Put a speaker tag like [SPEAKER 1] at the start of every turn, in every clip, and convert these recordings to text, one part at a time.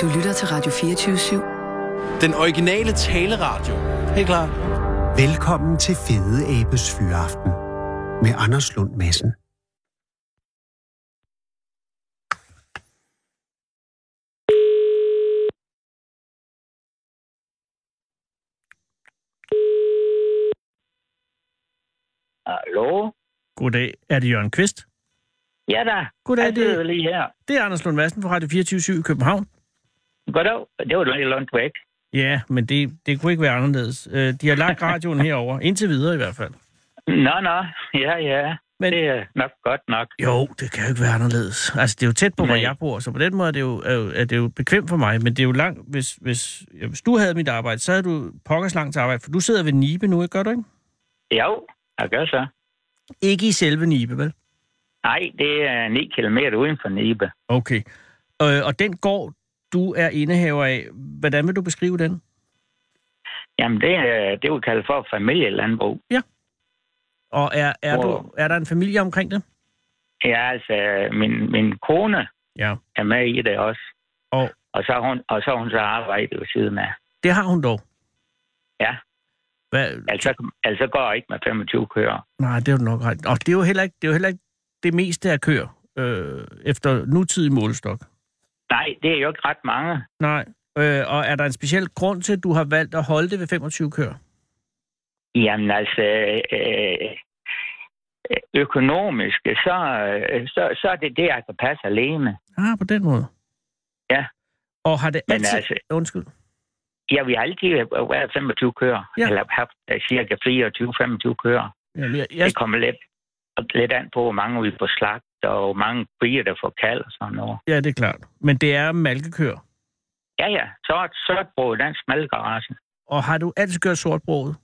[SPEAKER 1] Du lytter til Radio 24
[SPEAKER 2] Den originale taleradio. Helt klar.
[SPEAKER 3] Velkommen til Fede Abes Fyraften med Anders Lund Madsen.
[SPEAKER 4] Hallo?
[SPEAKER 5] Goddag. Er det Jørgen Kvist?
[SPEAKER 4] Ja da.
[SPEAKER 5] Goddag,
[SPEAKER 4] Jeg sidder
[SPEAKER 5] det-
[SPEAKER 4] lige her.
[SPEAKER 5] Det er Anders Lund Madsen fra Radio 24 i København.
[SPEAKER 4] Goddag. Det var da lidt langt væk.
[SPEAKER 5] Ja, men det, det kunne ikke være anderledes. Øh, De har lagt radioen herover indtil videre i hvert fald.
[SPEAKER 4] Nå, nå. Ja, ja.
[SPEAKER 5] Men-
[SPEAKER 4] Men... Det er nok godt nok.
[SPEAKER 5] Jo, det kan jo ikke være anderledes. Altså, det er jo tæt på, hvor
[SPEAKER 4] Nej.
[SPEAKER 5] jeg bor, så på den måde er det jo, er jo, er det jo bekvemt for mig. Men det er jo langt, hvis, hvis, ja, hvis du havde mit arbejde, så havde du pokkers langt til arbejde. For du sidder ved Nibe nu, ikke? Gør du ikke?
[SPEAKER 4] Jo, jeg gør så.
[SPEAKER 5] Ikke i selve Nibe, vel?
[SPEAKER 4] Nej, det er 9 km uden for Nibe.
[SPEAKER 5] Okay. Øh, og den gård, du er indehaver af, hvordan vil du beskrive den?
[SPEAKER 4] Jamen, det er det, vi kalder for familielandbrug.
[SPEAKER 5] Og er, er, du,
[SPEAKER 4] Hvor-
[SPEAKER 5] er der en familie omkring det?
[SPEAKER 4] Ja, altså, min, min kone
[SPEAKER 5] Ja.
[SPEAKER 4] er med i det også.
[SPEAKER 5] Og-
[SPEAKER 4] og så har hun, og så har hun så arbejdet ved siden af.
[SPEAKER 5] Det har hun dog.
[SPEAKER 4] Ja.
[SPEAKER 5] Hvad?
[SPEAKER 4] Altså, altså går jeg ikke med 25 kører.
[SPEAKER 5] Nej, det er jo nok ret. Og det er jo heller ikke det, er jo heller ikke det meste af køer øh, efter nutidig målestok.
[SPEAKER 4] Nej, det er jo ikke ret mange.
[SPEAKER 5] Nej. Øh, og er der en speciel grund til, at du har valgt at holde det ved 25 køer?
[SPEAKER 4] Jamen altså, øh, øh, økonomisk, så, øh, så, så er det det, jeg kan passe alene.
[SPEAKER 5] Ah, på den måde.
[SPEAKER 4] Ja.
[SPEAKER 5] Og har det
[SPEAKER 4] Men
[SPEAKER 5] altid...
[SPEAKER 4] altså-
[SPEAKER 5] Undskyld.
[SPEAKER 4] Jeg vil altid øh, være 25 kører,
[SPEAKER 5] Ja.
[SPEAKER 4] ja. eller haft øh, cirka 24-25 kører.
[SPEAKER 5] Jamen, jeg,
[SPEAKER 4] Jeg...
[SPEAKER 5] jeg,
[SPEAKER 4] Det kommer lidt, lidt an på, hvor mange vi får slagt, og hvor mange kriger, der får kald og sådan noget.
[SPEAKER 5] ja, det er klart. Men det er malkekøer.
[SPEAKER 4] Ja, ja, sort, sort brød, den smalgerasse.
[SPEAKER 5] Og har du altid gjort sortbroget?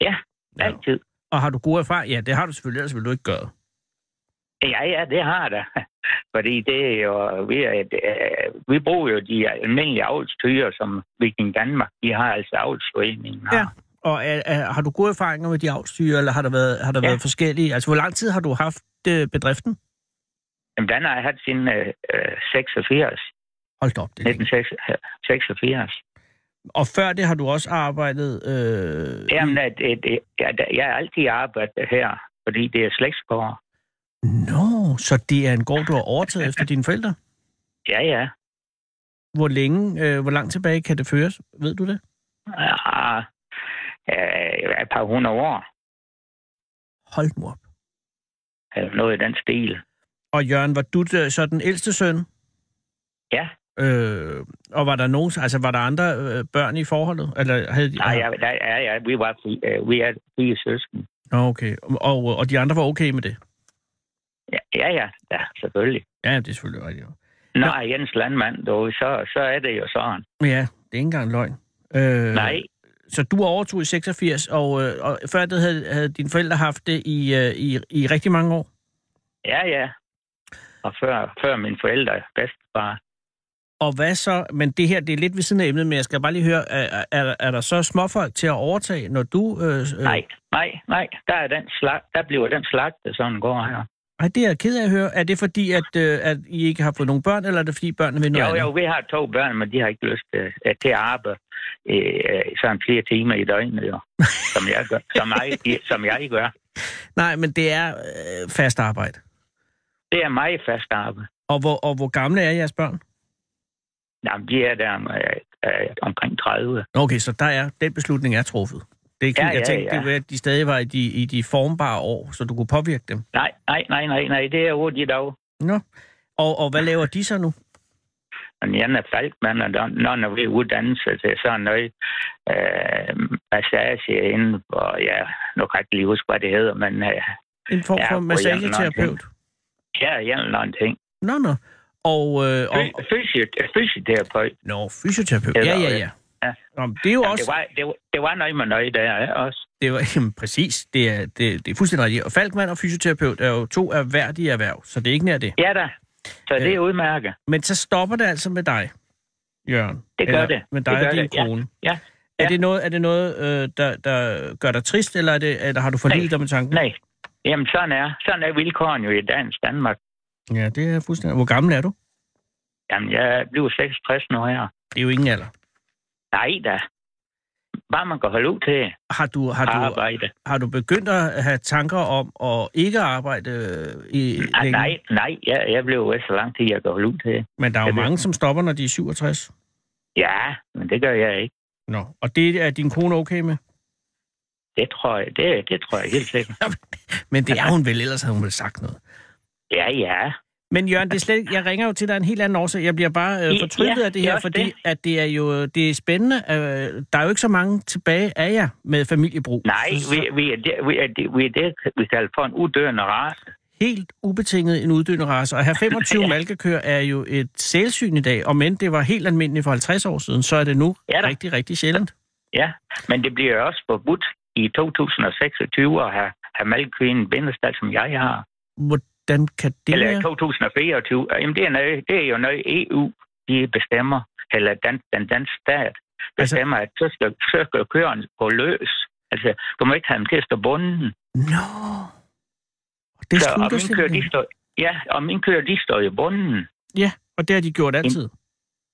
[SPEAKER 5] Ja.
[SPEAKER 4] Ja. Altid.
[SPEAKER 5] Og har du gode erfaringer? Ja, det har du selvfølgelig, ellers ville du ikke gøre det.
[SPEAKER 4] Ja, ja, det har der. Fordi det er jo, vi, er et, øh, vi bruger jo de almindelige avlstyre, som Viking Danmark, de har altså avlsforeningen.
[SPEAKER 5] Ja. Og er, er, har du gode erfaringer med de afstyre, eller har der været, har der ja.
[SPEAKER 4] Ja.
[SPEAKER 5] været forskellige? Altså, hvor lang tid har du haft øh, bedriften?
[SPEAKER 4] Jamen, den har jeg haft siden øh, øh, 86,
[SPEAKER 5] Hold da op, det er længe.
[SPEAKER 4] øh, 1986.
[SPEAKER 5] Og før det har du også arbejdet... Øh,
[SPEAKER 4] Jamen, at, at, at, at, at jeg har altid arbejdet her, fordi det er slægtsgård.
[SPEAKER 5] Nå, så det er en gård, du har overtaget efter dine forældre?
[SPEAKER 4] Ja, ja.
[SPEAKER 5] Hvor længe, øh, hvor langt tilbage kan det føres? Ved du det?
[SPEAKER 4] Ah, øh, et par hundrede år,
[SPEAKER 5] Hold nu op.
[SPEAKER 4] eller noget i den stil.
[SPEAKER 5] Og Jørgen, var du øh, så den ældste søn?
[SPEAKER 4] Ja.
[SPEAKER 5] Øh, og var der nogen, altså var der andre øh, børn i forholdet? Eller havde de,
[SPEAKER 4] Nej, ja, der, ja, ja, vi, var, fri- øh, vi er fire søsken.
[SPEAKER 5] Nå, okay. Og, og de andre var okay med det?
[SPEAKER 4] Ja, ja, ja, ja selvfølgelig.
[SPEAKER 5] Ja, det er selvfølgelig rigtigt.
[SPEAKER 4] Når jeg er Jens Landmand, du, så, så er det jo sådan.
[SPEAKER 5] Men ja, det er ikke engang løgn. Øh,
[SPEAKER 4] Nej,
[SPEAKER 5] Så du overtog i 86, og, øh, og før det havde, havde dine forældre haft det i, øh, i, i rigtig mange år?
[SPEAKER 4] ja, ja. Og før, før mine forældre, bedstefar,
[SPEAKER 5] Og hvad så? Men det her, det er lidt ved siden af emnet, men jeg skal bare lige høre, er, er, er der så småfolk til at overtage, når du... Øh, øh,
[SPEAKER 4] Nej, nej, nej. Der, er den slag, der bliver den slagtet, sådan går her.
[SPEAKER 5] Ej, det er jeg ked af at høre. Er det fordi, at, øh, at I ikke har fået nogen børn, eller er det fordi, børnene vil noget
[SPEAKER 4] Jo, jo,
[SPEAKER 5] andet?
[SPEAKER 4] vi har to børn, men de har ikke lyst til, øh, til at arbejde øh, sådan flere timer i døgnet, jo. som jeg gør. Som jeg, som jeg gør.
[SPEAKER 5] Nej, men det er øh, fast arbejde.
[SPEAKER 4] Det er meget fast arbejde.
[SPEAKER 5] Og hvor, og hvor gamle er jeres børn?
[SPEAKER 4] Jamen, de er der øh, øh, omkring 30.
[SPEAKER 5] Okay, så der er, den beslutning er truffet. Det er ikke,
[SPEAKER 4] Ja,
[SPEAKER 5] ja, jeg
[SPEAKER 4] ja,
[SPEAKER 5] tænkte,
[SPEAKER 4] ja.
[SPEAKER 5] det var, at de stadig var i de, i de formbare år, så du kunne påvirke dem.
[SPEAKER 4] Nej, nej, nej, nej, nej. Det er otte i dag.
[SPEAKER 5] Nå. Og, og hvad laver de så nu?
[SPEAKER 4] Men jeg er falkmand, og der- når jeg vil uddanne sig til sådan noget øh, massage inden for, ja, nu kan jeg ikke lige huske, hvad det hedder, men øh,
[SPEAKER 5] En form
[SPEAKER 4] Ja, hvor
[SPEAKER 5] for
[SPEAKER 4] jeg er nok
[SPEAKER 5] massageterapeut?
[SPEAKER 4] ja, jeg er en ting.
[SPEAKER 5] Nå, nå. Og, øh, og,
[SPEAKER 4] Fy- Fysiot- fysioterapeut.
[SPEAKER 5] Nå, fysioterapeut.
[SPEAKER 4] Eller-
[SPEAKER 5] Ja, ja, ja.
[SPEAKER 4] Ja.
[SPEAKER 5] Nå, men det er jo
[SPEAKER 4] Jamen,
[SPEAKER 5] også...
[SPEAKER 4] det, var, det, var, det var noget med noget der ikke også.
[SPEAKER 5] Det var, jamen, præcis. Det er, det, det er fuldstændig rigtigt. Og Falkmann og fysioterapeut er jo to erhverdige erhverv, så det er ikke nær det.
[SPEAKER 4] Ja da. Så det er udmærket.
[SPEAKER 5] Men så stopper det altså med dig, Jørgen.
[SPEAKER 4] Det gør det.
[SPEAKER 5] Med dig
[SPEAKER 4] Det gør
[SPEAKER 5] og din
[SPEAKER 4] det, ja.
[SPEAKER 5] kone.
[SPEAKER 4] Ja.
[SPEAKER 5] Er
[SPEAKER 4] Ja.
[SPEAKER 5] det noget, er det noget øh, der, der gør dig trist, eller, er det, eller har du forlidet
[SPEAKER 4] Nej.
[SPEAKER 5] dig med tanken?
[SPEAKER 4] Nej. Jamen, sådan er, sådan er vilkårene jo i dansk Danmark.
[SPEAKER 5] Ja, det er fuldstændig. Hvor gammel er du?
[SPEAKER 4] Jamen, jeg bliver 66 nu her.
[SPEAKER 5] Det er jo ingen alder.
[SPEAKER 4] Nej da. Bare man kan holde ud til at
[SPEAKER 5] Har du, har
[SPEAKER 4] Ah,
[SPEAKER 5] du,
[SPEAKER 4] arbejde.
[SPEAKER 5] har du begyndt at have tanker om at ikke arbejde øh, i
[SPEAKER 4] Ah,
[SPEAKER 5] længe?
[SPEAKER 4] nej, nej, jeg, jeg blev jo så lang tid, jeg kan holde ud til.
[SPEAKER 5] Men der er jo
[SPEAKER 4] Jeg ved-
[SPEAKER 5] mange, som stopper, når de er 67.
[SPEAKER 4] Ja, men det gør jeg ikke.
[SPEAKER 5] Nå, og det er din kone okay med?
[SPEAKER 4] Det tror jeg, det, det tror jeg helt sikkert.
[SPEAKER 5] Men det er hun vel, ellers havde hun vel sagt noget.
[SPEAKER 4] Ja, ja.
[SPEAKER 5] Men Jørgen, det er slet, ikke- jeg ringer jo til dig af en helt anden årsag. Jeg bliver bare øh,
[SPEAKER 4] Ja,
[SPEAKER 5] fortryllet af
[SPEAKER 4] det
[SPEAKER 5] det
[SPEAKER 4] er
[SPEAKER 5] her,
[SPEAKER 4] også
[SPEAKER 5] fordi
[SPEAKER 4] det.
[SPEAKER 5] at det er jo det er spændende. Øh, der er jo ikke så mange tilbage af jer med familiebrug.
[SPEAKER 4] Nej,
[SPEAKER 5] Så- så
[SPEAKER 4] vi, vi, er det, vi, er det, vi er det, vi kalder for en uddørende race.
[SPEAKER 5] Helt ubetinget en uddøende race. Og at have 25 ja. malkekøer er jo et sælsyn i dag. Og men det var helt almindeligt for 50 år siden, så er det nu
[SPEAKER 4] Ja da.
[SPEAKER 5] rigtig, rigtig sjældent.
[SPEAKER 4] Ja, men det bliver også forbudt i 2026 at have, have malkvinden bindestad, som jeg har.
[SPEAKER 5] Hvordan kan det
[SPEAKER 4] Eller
[SPEAKER 5] være?
[SPEAKER 4] 2024. Jamen, det er, noget, det er jo noget EU, de bestemmer, eller dan, den danske stat bestemmer, altså, at så skal, så skal køerne gå løs. Altså, du må ikke have dem til at stå bunden.
[SPEAKER 5] Nå. Det
[SPEAKER 4] Så, og
[SPEAKER 5] slutter
[SPEAKER 4] mine køer,
[SPEAKER 5] simpelthen.
[SPEAKER 4] de står, ja, og mine køer, de står i bunden.
[SPEAKER 5] Ja, og det har de gjort altid.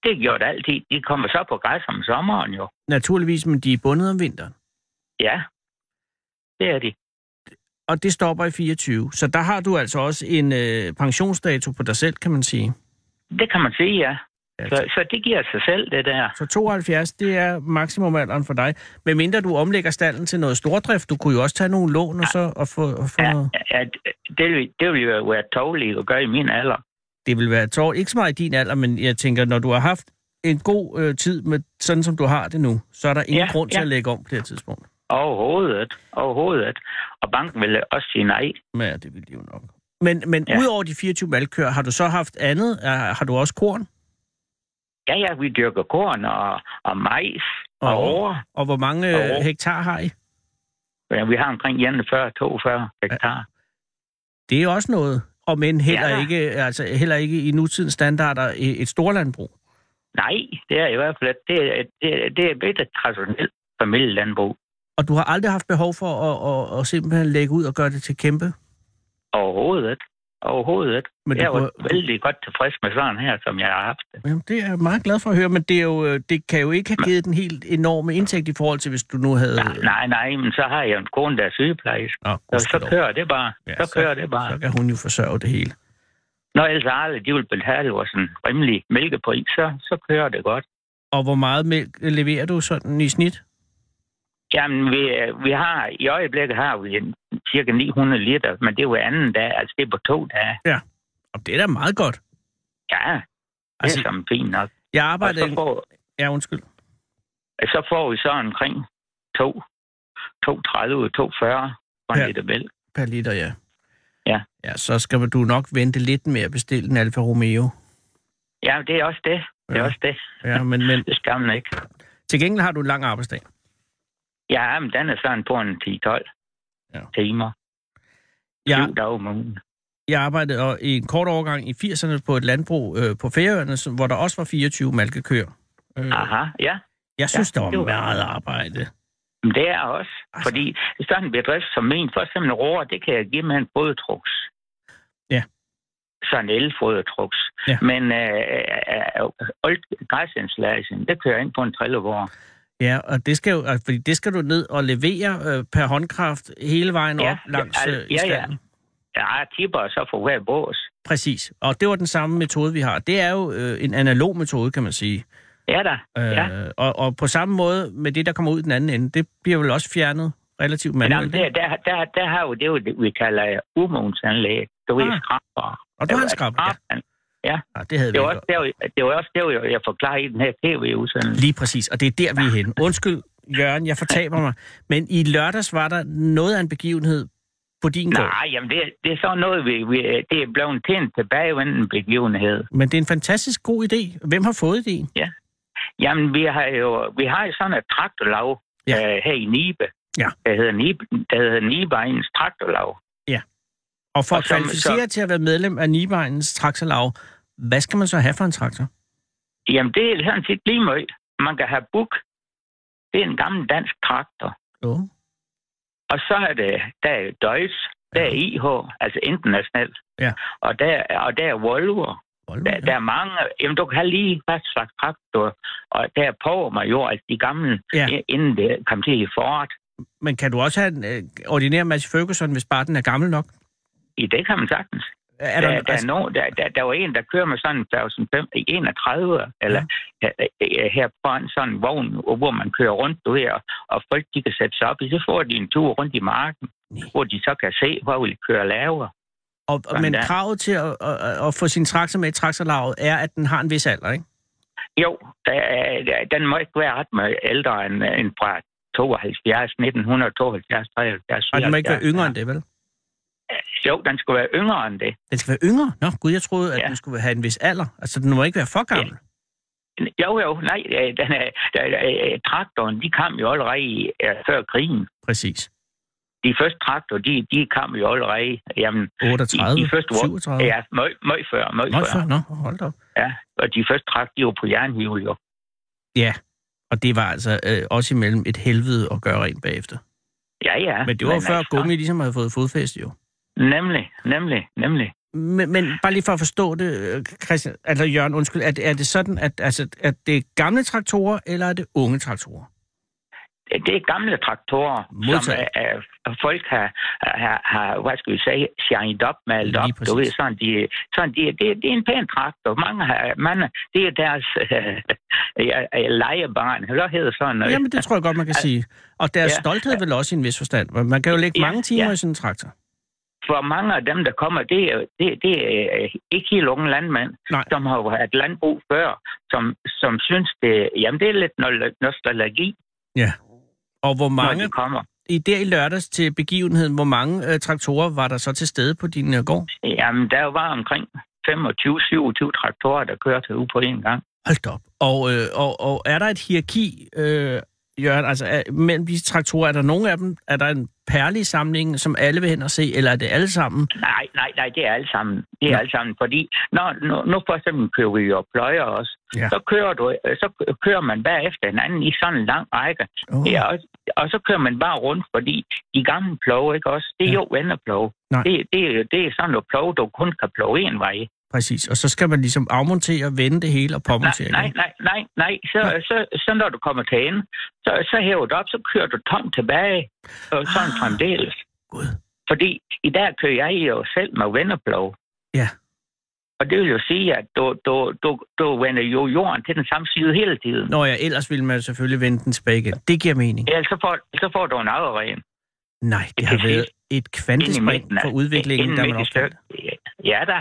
[SPEAKER 4] Det gjorde det altid. De kommer så på græs om sommeren jo.
[SPEAKER 5] Naturligvis, men de er bundet om vinteren.
[SPEAKER 4] Ja, det er de.
[SPEAKER 5] Og det stopper i 24. Så der har du altså også en øh, pensionsdato på dig selv, kan man sige.
[SPEAKER 4] Det kan man sige, ja. Så,
[SPEAKER 5] Altså,
[SPEAKER 4] så det giver sig selv, det der.
[SPEAKER 5] så 72, det er maksimumalderen for dig. Men mindre du omlægger stallen til noget stordrift, du kunne jo også tage nogle lån og så og få, og få
[SPEAKER 4] Ja,
[SPEAKER 5] noget.
[SPEAKER 4] at det, vil- det ville jo være tåligt at gøre i min alder.
[SPEAKER 5] Det vil være tår. Ikke så meget i din alder, men jeg tænker, når du har haft en god øh, tid med sådan, som du har det nu, så er der ingen
[SPEAKER 4] Ja,
[SPEAKER 5] grund til
[SPEAKER 4] ja.
[SPEAKER 5] at lægge om på det her tidspunkt.
[SPEAKER 4] Overhovedet. Overhovedet. Og banken ville også sige nej.
[SPEAKER 5] Men ja, det vil de jo nok. Men, men ja.
[SPEAKER 4] Ja.
[SPEAKER 5] udover de 24 malkøer, har du så haft andet? Er- Har du også korn?
[SPEAKER 4] Ja, ja, vi dyrker korn og, og majs og,
[SPEAKER 5] Og-
[SPEAKER 4] og over.
[SPEAKER 5] Og hvor mange
[SPEAKER 4] Jo.
[SPEAKER 5] øh, hektar har I?
[SPEAKER 4] Ja, vi har omkring 41-42 hektar.
[SPEAKER 5] Det er også noget. Og men heller,
[SPEAKER 4] Ja
[SPEAKER 5] ja,
[SPEAKER 4] da.
[SPEAKER 5] ikke, altså, heller ikke i nutidens standarder e- et storlandbrug.
[SPEAKER 4] Nej, det er i hvert fald, det, er- det, er- det er lidt et traditionelt familielandbrug.
[SPEAKER 5] Og du har aldrig haft behov for at, at, at simpelthen lægge ud og gøre det til kæmpe?
[SPEAKER 4] Overhovedet. Overhovedet.
[SPEAKER 5] Men
[SPEAKER 4] jeg
[SPEAKER 5] du
[SPEAKER 4] var
[SPEAKER 5] kunne-
[SPEAKER 4] vældig godt tilfreds med sådan her, som jeg har haft. det.
[SPEAKER 5] Jamen, det er jeg meget glad for at høre, men det, er jo, øh, det kan jo ikke have givet den helt enorme indtægt i forhold til, hvis du nu havde...
[SPEAKER 4] Nej, nej, nej, men så har jeg en kone, der er sygeplejerske.
[SPEAKER 5] Nå,
[SPEAKER 4] Så,
[SPEAKER 5] gudskelov.
[SPEAKER 4] så kører det bare.
[SPEAKER 5] Ja,
[SPEAKER 4] så kører det bare.
[SPEAKER 5] Så kan hun jo forsørge det hele.
[SPEAKER 4] Når ellers alle de vil betale vores en rimelig mælkepris, så, så kører det godt.
[SPEAKER 5] Og hvor meget mælk leverer du sådan i snit?
[SPEAKER 4] Jamen, vi, vi har, i øjeblikket har vi en, cirka 900 liter, men det er jo anden dag, altså det er på to dage.
[SPEAKER 5] Og det er da meget godt.
[SPEAKER 4] Ja, det altså,
[SPEAKER 5] Altså,
[SPEAKER 4] er som fint nok.
[SPEAKER 5] jeg
[SPEAKER 4] Og
[SPEAKER 5] arbejder...
[SPEAKER 4] så, får,
[SPEAKER 5] Ja, undskyld.
[SPEAKER 4] så får vi så omkring to, 230 240 for en
[SPEAKER 5] Ja.
[SPEAKER 4] ja. liter mælk.
[SPEAKER 5] Per liter, ja.
[SPEAKER 4] Ja.
[SPEAKER 5] Ja, så skal du nok vente lidt med at bestille en Alfa Romeo.
[SPEAKER 4] Ja, det er også det. Det er
[SPEAKER 5] Ja.
[SPEAKER 4] også det.
[SPEAKER 5] Ja, men, men
[SPEAKER 4] Det skal man ikke.
[SPEAKER 5] til gengæld har du en lang arbejdsdag.
[SPEAKER 4] Ja, men den er sådan på en 10-12
[SPEAKER 5] Ja.
[SPEAKER 4] timer. Ja.
[SPEAKER 5] Jeg,
[SPEAKER 4] Syv dage om ugen.
[SPEAKER 5] jeg arbejdede og- i en kort overgang i 80'erne på et landbrug øh, på Færøerne, som- hvor der også var 24 malkekøer. Øh,
[SPEAKER 4] Aha, ja.
[SPEAKER 5] jeg synes,
[SPEAKER 4] ja,
[SPEAKER 5] der
[SPEAKER 4] det
[SPEAKER 5] var
[SPEAKER 4] var-
[SPEAKER 5] meget arbejde.
[SPEAKER 4] Men Det er også.
[SPEAKER 5] Altså.
[SPEAKER 4] Altså. Fordi sådan en bedrift som min, for eksempel en roer, det kan jeg give med en fodtruks.
[SPEAKER 5] Ja.
[SPEAKER 4] Sådan en elfodtruks.
[SPEAKER 5] Ja.
[SPEAKER 4] Men øh, øh, øh, græsindslagelsen, det kører jeg ind på en trillevogn.
[SPEAKER 5] Ja, og det skal, jo, altså, fordi det skal du ned og levere øh, per håndkraft hele vejen
[SPEAKER 4] Ja,
[SPEAKER 5] op langs
[SPEAKER 4] ja,
[SPEAKER 5] øh,
[SPEAKER 4] altså, ja, ja.
[SPEAKER 5] stallen.
[SPEAKER 4] Jeg tipper og så for hver bås.
[SPEAKER 5] Præcis. Og det var den samme metode, vi har. Det er jo øh, en analog metode, kan man sige.
[SPEAKER 4] Ja da.
[SPEAKER 5] Øh,
[SPEAKER 4] Ja.
[SPEAKER 5] og, og på samme måde med det, der kommer ud den anden ende, det bliver vel også fjernet relativt
[SPEAKER 4] Men
[SPEAKER 5] manuelt.
[SPEAKER 4] jamen, der,
[SPEAKER 5] ikke?
[SPEAKER 4] der, der, der har jo det, jo det, vi kalder urmundsanlæg. Du ved,
[SPEAKER 5] Ah.
[SPEAKER 4] ah. skraber.
[SPEAKER 5] Og du har en skrab. Ja,
[SPEAKER 4] Ja.
[SPEAKER 5] nej, det havde vi
[SPEAKER 4] Ah. Det var
[SPEAKER 5] ikke.
[SPEAKER 4] også der, det var også der, jeg forklarede i den her tv-udsendelse.
[SPEAKER 5] Lige præcis, og det er der, vi er henne. Undskyld, Jørgen, jeg fortaber mig. Men i lørdags var der noget af en begivenhed på din gård.
[SPEAKER 4] Nej, jamen det, det er sådan noget, vi, vi, det er blevet til en tilbagevendende begivenhed.
[SPEAKER 5] Men det er en fantastisk god idé. Hvem har fået idéen?
[SPEAKER 4] Jamen, vi har jo vi har jo sådan et traktorlag
[SPEAKER 5] Ja.
[SPEAKER 4] ja. øh, her i Nibe.
[SPEAKER 5] Ja.
[SPEAKER 4] Der hedder Nibe, der hedder Nibeegnens traktorlag.
[SPEAKER 5] Og for
[SPEAKER 4] Og
[SPEAKER 5] at
[SPEAKER 4] som-
[SPEAKER 5] kvalificere til at være medlem af Nibegnens traktorlag, hvad skal man så have for en traktor?
[SPEAKER 4] Jamen, det er sådan set lige meget. Man kan have buk. Det er en gammel dansk traktor.
[SPEAKER 5] Jo.
[SPEAKER 4] Og så er det, der er Deutsch, der er IH, altså internationalt.
[SPEAKER 5] Ja.
[SPEAKER 4] Og der, og der er Volvo.
[SPEAKER 5] Volvo,
[SPEAKER 4] Der, der er mange, jamen du kan have lige hvad slags traktor, og der prøver man jo, at de gamle,
[SPEAKER 5] Ja.
[SPEAKER 4] ja. inden det kom til i foråret,
[SPEAKER 5] Men kan du også have en øh, ordinær Mads Ferguson, hvis bare den er gammel nok?
[SPEAKER 4] i det kan man sagtens.
[SPEAKER 5] Er
[SPEAKER 4] der, der, er
[SPEAKER 5] altså,
[SPEAKER 4] nogen, der, der, der var en, der kører med sådan en 1005 i 31, eller ja. her foran sådan en vogn, hvor man kører rundt du her, og folk de kan sætte sig op i, så får de en tur rundt i marken,
[SPEAKER 5] Nej.
[SPEAKER 4] hvor de så kan se, hvor de kører lavere.
[SPEAKER 5] og, og, men
[SPEAKER 4] sådan der.
[SPEAKER 5] kravet til at, at, at få sin traktor med i traktorlaget er, at den har en vis alder, ikke?
[SPEAKER 4] Jo, der, er- der, den må ikke være ret meget ældre end, end fra 72, 1972, 73,
[SPEAKER 5] Og den må ikke være yngre end det, vel?
[SPEAKER 4] Jo, den skal være yngre end det.
[SPEAKER 5] Den skal være yngre? Nå, gud, jeg troede, at ja.
[SPEAKER 4] Ja.
[SPEAKER 5] den skulle have en vis alder. Altså, den må ikke være for gammel.
[SPEAKER 4] Jo, jo, nej, øh, den er, der, øh, traktoren, de kom jo allerede i, øh, før krigen.
[SPEAKER 5] Præcis.
[SPEAKER 4] de første traktor, de, de kom jo allerede, jamen, i,
[SPEAKER 5] 38,
[SPEAKER 4] de første år,
[SPEAKER 5] 37?
[SPEAKER 4] ja, meget, meget før, meget
[SPEAKER 5] Nå,
[SPEAKER 4] før.
[SPEAKER 5] for, nå, hold da op.
[SPEAKER 4] Ja, og de første traktor, de var på jernhjul, jo.
[SPEAKER 5] Ja, og det var altså øh, også imellem et helvede at gøre rent bagefter.
[SPEAKER 4] Ja, ja.
[SPEAKER 5] Men det var jo før
[SPEAKER 4] altså,
[SPEAKER 5] gummi ligesom havde fået fodfæste, jo.
[SPEAKER 4] Nemlig, nemlig, nemlig.
[SPEAKER 5] Men, men bare lige for at forstå det, øh, Christian, altså Jørgen, undskyld, er, det- er det sådan, at, altså, at det er gamle traktorer, eller er det unge traktorer?
[SPEAKER 4] Det er gamle traktorer, som
[SPEAKER 5] Modtaget.
[SPEAKER 4] øh, øh, folk har, har, har, hvad skal vi sige, shined op, malet
[SPEAKER 5] Lige
[SPEAKER 4] op, du
[SPEAKER 5] præcis.
[SPEAKER 4] ved, sådan de, sådan de, det, det er en pæn traktor. Mange har, man, det er deres øh, ja, øh, legebarn, eller hvad hedder sådan noget?
[SPEAKER 5] Jamen, det tror jeg godt, man kan sige. Og deres ja.
[SPEAKER 4] ja.
[SPEAKER 5] stolthed vel også i en vis forstand. Man kan jo lægge
[SPEAKER 4] Ja,
[SPEAKER 5] mange timer
[SPEAKER 4] ja.
[SPEAKER 5] i sådan en traktor.
[SPEAKER 4] For mange af dem, der kommer, det er, det, det er øh, ikke helt unge landmænd,
[SPEAKER 5] Nej.
[SPEAKER 4] som har været landbrug før, som, som synes, det, jamen, det er lidt nol- nostalgi,
[SPEAKER 5] Og hvor
[SPEAKER 4] når
[SPEAKER 5] mange,
[SPEAKER 4] de kommer.
[SPEAKER 5] i der i lørdags til begivenheden, hvor mange øh, traktorer var der så til stede på din øh, gård?
[SPEAKER 4] Jamen, der var omkring 25-27 traktorer, der kørte ud på en gang.
[SPEAKER 5] Hold da op. Og, øh, og, og er der et hierarki, øh, Jørgen, altså er, mellem de traktorer, er der nogen af dem, er der en perle i samlingen, som alle vil hen og se, eller er det alle sammen?
[SPEAKER 4] Nej, nej, nej, det er alle sammen. Det er
[SPEAKER 5] Nå.
[SPEAKER 4] alle sammen, fordi når, nu, nu for eksempel kører vi jo pløjer også.
[SPEAKER 5] Ja.
[SPEAKER 4] Så, kører du, så kører man hver efter hinanden i sådan en lang række.
[SPEAKER 5] Oh.
[SPEAKER 4] Ja, og, og så kører man bare rundt, fordi de gamle plove, ikke også? Det er
[SPEAKER 5] Ja.
[SPEAKER 4] ja. jo vennerplove.
[SPEAKER 5] Nej.
[SPEAKER 4] Det, det, er jo- det er sådan noget plove, du kun kan plove en vej.
[SPEAKER 5] Præcis, og så skal man ligesom afmontere, vende det hele og
[SPEAKER 4] Nej,
[SPEAKER 5] påmontere
[SPEAKER 4] nej,
[SPEAKER 5] igen.
[SPEAKER 4] nej, nej, nej. Så,
[SPEAKER 5] Nej.
[SPEAKER 4] Så, så, så når du kommer til ende, så, så hæver du op, så kører du tomt tilbage, og sådan
[SPEAKER 5] Ah.
[SPEAKER 4] ah. fremdeles.
[SPEAKER 5] Gud.
[SPEAKER 4] Fordi i dag kører jeg jo selv med vennerplove.
[SPEAKER 5] Ja.
[SPEAKER 4] Og det vil jo sige, at du, du, du, du vender jo jorden til den samme side hele tiden.
[SPEAKER 5] Nå ja, ellers ville man jo selvfølgelig vende den tilbage igen. Det giver mening.
[SPEAKER 4] Ellers så får, så får du en afren.
[SPEAKER 5] Nej, det
[SPEAKER 4] Til
[SPEAKER 5] har
[SPEAKER 4] sidst.
[SPEAKER 5] været et
[SPEAKER 4] Ind i
[SPEAKER 5] kvantespring
[SPEAKER 4] midten af-
[SPEAKER 5] for udviklingen,
[SPEAKER 4] ind
[SPEAKER 5] der
[SPEAKER 4] midt
[SPEAKER 5] man
[SPEAKER 4] i
[SPEAKER 5] opfandt.
[SPEAKER 4] stykket. Ja da.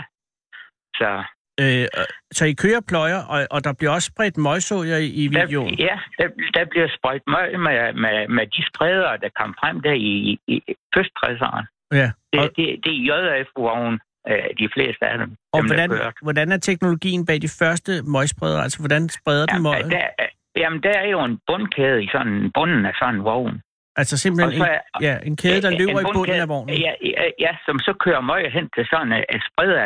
[SPEAKER 4] Så
[SPEAKER 5] Øh, og- så I kører pløjer, og, og der bliver også spredt møgsolier i, i
[SPEAKER 4] der,
[SPEAKER 5] videoen.
[SPEAKER 4] ja, der, der bliver sprøjt møg med, med, med de spredere, der kom frem der i, i, i fødselsdresseren.
[SPEAKER 5] Ja.
[SPEAKER 4] Det,
[SPEAKER 5] Og,
[SPEAKER 4] det, det er JF-vognen, øh, de fleste af dem.
[SPEAKER 5] og
[SPEAKER 4] dem, der
[SPEAKER 5] hvordan,
[SPEAKER 4] kører.
[SPEAKER 5] hvordan er teknologien bag de første møgspredere? Altså, hvordan spreder den
[SPEAKER 4] Jamen,
[SPEAKER 5] møgen?
[SPEAKER 4] der, er- jamen, der er jo en bundkæde i sådan bunden af sådan en vogn.
[SPEAKER 5] Altså
[SPEAKER 4] Og
[SPEAKER 5] simpelthen
[SPEAKER 4] så
[SPEAKER 5] en,
[SPEAKER 4] er-
[SPEAKER 5] ja, en kæde, der
[SPEAKER 4] En-
[SPEAKER 5] løber
[SPEAKER 4] en
[SPEAKER 5] i bunden
[SPEAKER 4] bundkæde-
[SPEAKER 5] af vognen.
[SPEAKER 4] Ja, ja, ja, som så kører møg hen til sådan øh, en- en spreder,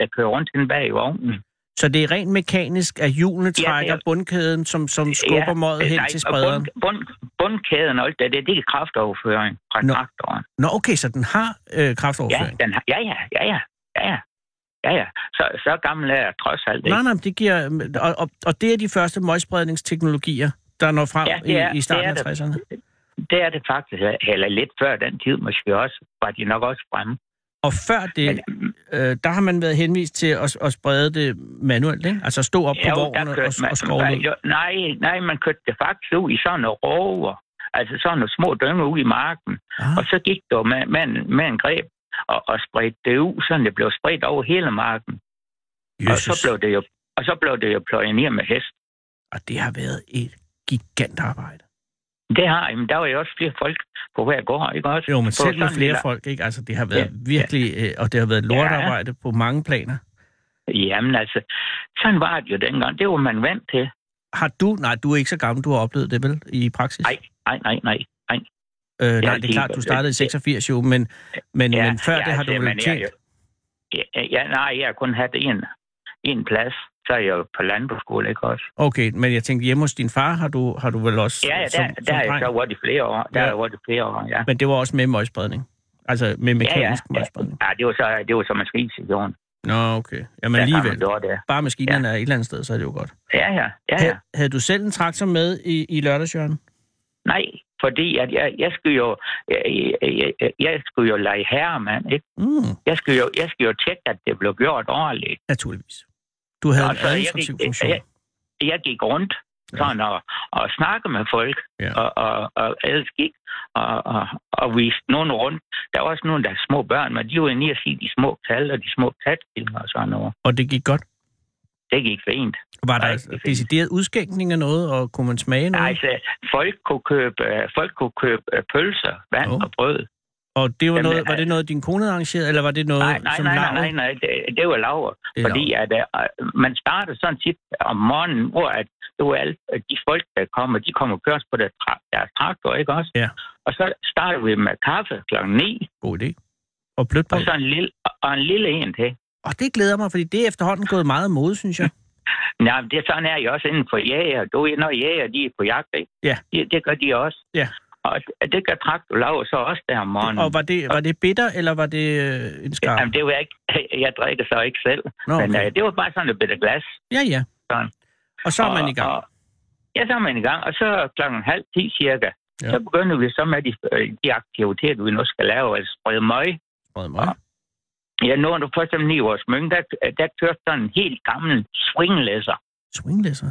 [SPEAKER 4] der kører rundt inde bag i vognen.
[SPEAKER 5] Så det er rent mekanisk, at hjulene
[SPEAKER 4] Ja,
[SPEAKER 5] trækker
[SPEAKER 4] det
[SPEAKER 5] bundkæden, som, som skubber
[SPEAKER 4] Ja,
[SPEAKER 5] møget hen
[SPEAKER 4] nej,
[SPEAKER 5] til
[SPEAKER 4] og
[SPEAKER 5] sprederen.
[SPEAKER 4] Bund, bund, bundkæden og alt det, det, det er kraftoverføring fra
[SPEAKER 5] Nå.
[SPEAKER 4] traktoren.
[SPEAKER 5] Nå, okay, så den har øh,
[SPEAKER 4] Ja,
[SPEAKER 5] kraftoverføring.
[SPEAKER 4] den har, ja, ja, ja, ja, ja, ja. Ja, ja. Så, så gammel er jeg trods alt
[SPEAKER 5] Nej,
[SPEAKER 4] ikke.
[SPEAKER 5] nej, men det giver... Og, og, og det er de første møgspredningsteknologier, der når frem
[SPEAKER 4] Ja, det er-
[SPEAKER 5] i, i starten
[SPEAKER 4] det er
[SPEAKER 5] af 60'erne.
[SPEAKER 4] Det er det faktisk, eller lidt før den tid måske også, var de nok også fremme.
[SPEAKER 5] Og før det,
[SPEAKER 4] øhm,
[SPEAKER 5] øh, der har man været henvist til at, at sprede det manuelt, ikke? Altså stå op på
[SPEAKER 4] Jo,
[SPEAKER 5] vognen og,
[SPEAKER 4] man,
[SPEAKER 5] og skovle
[SPEAKER 4] man,
[SPEAKER 5] ud.
[SPEAKER 4] jo, nej, nej, man kørte det faktisk ud i sådan nogle rover, altså sådan nogle små dømme ud i marken,
[SPEAKER 5] Ah,
[SPEAKER 4] og så gik du med, med, en, med en greb og, og spredte det ud, så det blev spredt over hele marken. Og så,
[SPEAKER 5] Jesus.
[SPEAKER 4] blev det jo, og så blev det jo pløjet ned med hest.
[SPEAKER 5] Og det har været et gigantarbejde.
[SPEAKER 4] Det har, jamen, der var jo også flere folk på hver gård, ikke også?
[SPEAKER 5] Jo, men
[SPEAKER 4] På
[SPEAKER 5] selv med
[SPEAKER 4] sådan en
[SPEAKER 5] flere
[SPEAKER 4] lille-
[SPEAKER 5] folk, ikke? Altså, det har været virkelig... Øh, og det har været et lortarbejde på mange planer.
[SPEAKER 4] Jamen altså, sådan var det jo dengang. Det var man vant til.
[SPEAKER 5] Har du... Nej, du er ikke så gammel, du har oplevet det, vel? I praksis?
[SPEAKER 4] Nej, nej, nej, nej.
[SPEAKER 5] Øh, nej, det er
[SPEAKER 4] det-
[SPEAKER 5] klart, du startede i
[SPEAKER 4] det-
[SPEAKER 5] 86 jo, men, men,
[SPEAKER 4] Ja,
[SPEAKER 5] men før
[SPEAKER 4] ja,
[SPEAKER 5] det har
[SPEAKER 4] altså,
[SPEAKER 5] du
[SPEAKER 4] men
[SPEAKER 5] vel
[SPEAKER 4] jeg
[SPEAKER 5] tjent.
[SPEAKER 4] er jo- Ja, ja, nej, jeg har kun haft en, en plads. Så er jeg jo på landbrugsskole, ikke også?
[SPEAKER 5] Okay, men jeg tænkte, hjemme hos din far har du, har du vel også
[SPEAKER 4] Ja, ja, der,
[SPEAKER 5] som,
[SPEAKER 4] der,
[SPEAKER 5] som
[SPEAKER 4] der er jeg
[SPEAKER 5] dreng?
[SPEAKER 4] så været i flere år. Der
[SPEAKER 5] Ja.
[SPEAKER 4] ja. er jeg været i flere år, ja.
[SPEAKER 5] Men det var også med møgspredning. Altså med
[SPEAKER 4] Ja, ja.
[SPEAKER 5] mekanisk ja, ja.
[SPEAKER 4] ja,
[SPEAKER 5] møgspredning.
[SPEAKER 4] ja det, var så, det var så maskinsektion.
[SPEAKER 5] Nå, okay. Jamen
[SPEAKER 4] Der har man
[SPEAKER 5] alligevel.
[SPEAKER 4] gjort det.
[SPEAKER 5] Bare maskinerne er et eller andet sted, så er det jo godt.
[SPEAKER 4] Ja, ja, ja, ja.
[SPEAKER 5] Ha- havde du selv en traktor med i, i lørdagsjørgen?
[SPEAKER 4] Nej, fordi at jeg, jeg skulle jo, jeg, jeg, jeg, jeg skulle jo lege herremand, ikke?
[SPEAKER 5] Mm,
[SPEAKER 4] Jeg skulle, jo, jeg skulle jo tjekke, at det blev gjort ordentligt.
[SPEAKER 5] naturligvis. Du havde
[SPEAKER 4] Altså,
[SPEAKER 5] en
[SPEAKER 4] jeg
[SPEAKER 5] administrativ
[SPEAKER 4] gik-
[SPEAKER 5] funktion.
[SPEAKER 4] jeg- Jeg gik rundt
[SPEAKER 5] Ja.
[SPEAKER 4] sådan, og, og snakkede med folk,
[SPEAKER 5] Ja.
[SPEAKER 4] og, og, og ellers gik og, og, og viste nogen rundt. Der var også nogle, der er små børn, men de var inde i at sige de små tal og de små tatfilmer og sådan noget.
[SPEAKER 5] Og det gik godt.
[SPEAKER 4] Det gik fint.
[SPEAKER 5] Var
[SPEAKER 4] Nej,
[SPEAKER 5] der altså
[SPEAKER 4] det er fint.
[SPEAKER 5] decideret udskænkning af noget, og kunne man smage
[SPEAKER 4] Nej,
[SPEAKER 5] noget?
[SPEAKER 4] altså, folk kunne købe, øh, folk kunne købe øh, pølser, vand
[SPEAKER 5] Åh.
[SPEAKER 4] og brød.
[SPEAKER 5] Og det var,
[SPEAKER 4] Jamen,
[SPEAKER 5] noget, var det noget, din kone arrangerede, eller var det noget,
[SPEAKER 4] Nej, nej,
[SPEAKER 5] som
[SPEAKER 4] nej, nej,
[SPEAKER 5] Laura-
[SPEAKER 4] nej, nej, det, det var laver.
[SPEAKER 5] Det er
[SPEAKER 4] Fordi at, øh, man starter sådan set om morgenen, hvor at, det var alt, at de folk, der kommer, de kommer kørt på deres, tra- deres traktor, ikke også?
[SPEAKER 5] Ja.
[SPEAKER 4] Og så starter vi med kaffe klokken 9,
[SPEAKER 5] God idé. Og blødt på.
[SPEAKER 4] og så en lille, og en lille en til.
[SPEAKER 5] Og det glæder mig, fordi det er efterhånden gået meget mode, synes jeg.
[SPEAKER 4] Nej, men det er sådan er jeg også inden for jæger. Du ved, når jæger, de er på jagt, ikke?
[SPEAKER 5] Ja.
[SPEAKER 4] Det, det gør de også.
[SPEAKER 5] Ja.
[SPEAKER 4] Og det, det gør traktor laver så også der om morgenen.
[SPEAKER 5] Og var det, var det bitter, eller var det øh, en skarp?
[SPEAKER 4] Jamen, det var jeg ikke. Jeg drikker så ikke selv.
[SPEAKER 5] Nå,
[SPEAKER 4] Men
[SPEAKER 5] okay.
[SPEAKER 4] øh, det var bare sådan et bitte glas.
[SPEAKER 5] Ja, ja.
[SPEAKER 4] Sådan.
[SPEAKER 5] Og så er man i
[SPEAKER 4] Og,
[SPEAKER 5] gang.
[SPEAKER 4] og, ja, så er man i gang, og så klokken halv ti cirka,
[SPEAKER 5] Ja.
[SPEAKER 4] ja. så begynder vi så med de, øh, de aktiviteter, vi nu skal lave, altså sprede møg.
[SPEAKER 5] Brød mig.
[SPEAKER 4] Ja, nu er du for eksempel i vores mønge, der, der kørte sådan en helt gammel swinglæsser.
[SPEAKER 5] Swinglæsser.